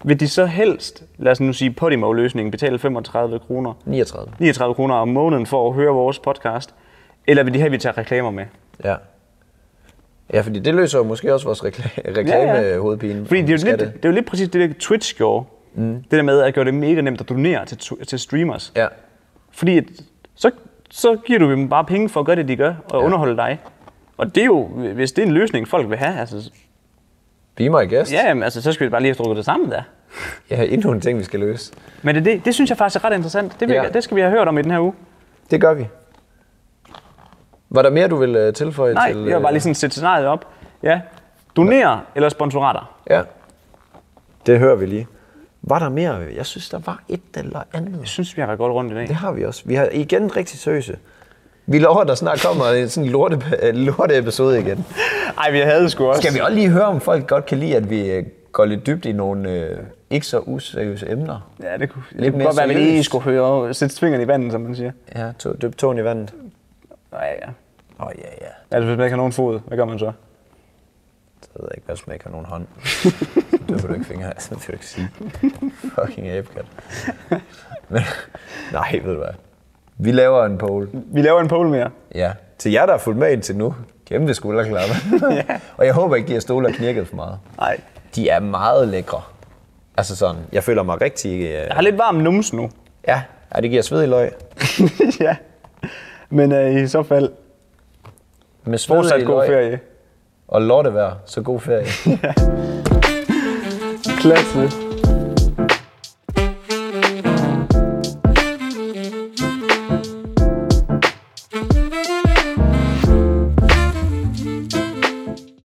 vil de så helst, lad os nu sige Podimo-løsningen, betale 35 kroner,
39.
39 kroner om måneden for at høre vores podcast, eller vil de have, at vi tager reklamer med?
Ja. Ja, fordi det løser jo måske også vores rekla- reklame-hovedpine.
Fordi det er, jo lidt, det er jo lidt præcis det, der Twitch gjorde. Mm. Det der med at gøre det mega nemt at donere til, tu- til streamers.
Ja.
Fordi at, så, så giver du dem bare penge for at gøre det, de gør, og ja. underholde dig. Og det er jo, hvis det er en løsning, folk vil have, altså,
Be my guest.
ja, jamen, altså, så skal vi bare lige have strukket det sammen der.
Ja, endnu en ting, vi skal løse.
Men det, det, det synes jeg faktisk er ret interessant. Det, vil,
Ja.
ja. det skal vi have hørt om i den her uge.
Det gør vi. Var der mere, du ville øh, tilføje
Nej,
til?
jeg vil bare lige sådan sætte scenariet op. Ja, donere ja. eller sponsorater.
Ja. Det hører vi lige. Var der mere? Jeg synes, der var et eller andet.
Jeg synes, vi har været godt rundt i dag.
Det har vi også. Vi har igen rigtig søse. Vi lover, der snart kommer en sådan lorte, øh, lorte episode igen.
Ej, vi havde sgu også.
Skal vi også lige høre, om folk godt kan lide, at vi øh, går lidt dybt i nogle øh, ikke så useriøse emner?
Ja, det kunne,
Lidt
det kunne
mere
godt være, at vi lige
seriøst.
skulle høre sætte tvingerne i vandet, som man siger.
Ja, to, dyb tåen i vandet.
Nej, ja.
Åh, oh, ja, ja.
Altså, hvis man ikke har nogen fod, hvad gør man så?
Så ved jeg ikke, hvad som ikke har nogen hånd. det vil du ikke fingre af, så det vil du ikke sige. Fucking abekat. Men, nej, ved du hvad. Vi laver en poll.
Vi laver en poll mere.
Ja. Til jer, der har fulgt med indtil nu. Kæmpe skulderklappe. ja. Og jeg håber ikke, de her stole har knirket for meget.
Nej.
De er meget lækre. Altså sådan, jeg føler mig rigtig... Øh,
Jeg har lidt varm nums nu.
ja, ja, det giver sved i løg.
ja. Men øh, i så fald,
Med sved i
fortsat god
løg
ferie.
Og lortevejr, så god ferie.
Klasse.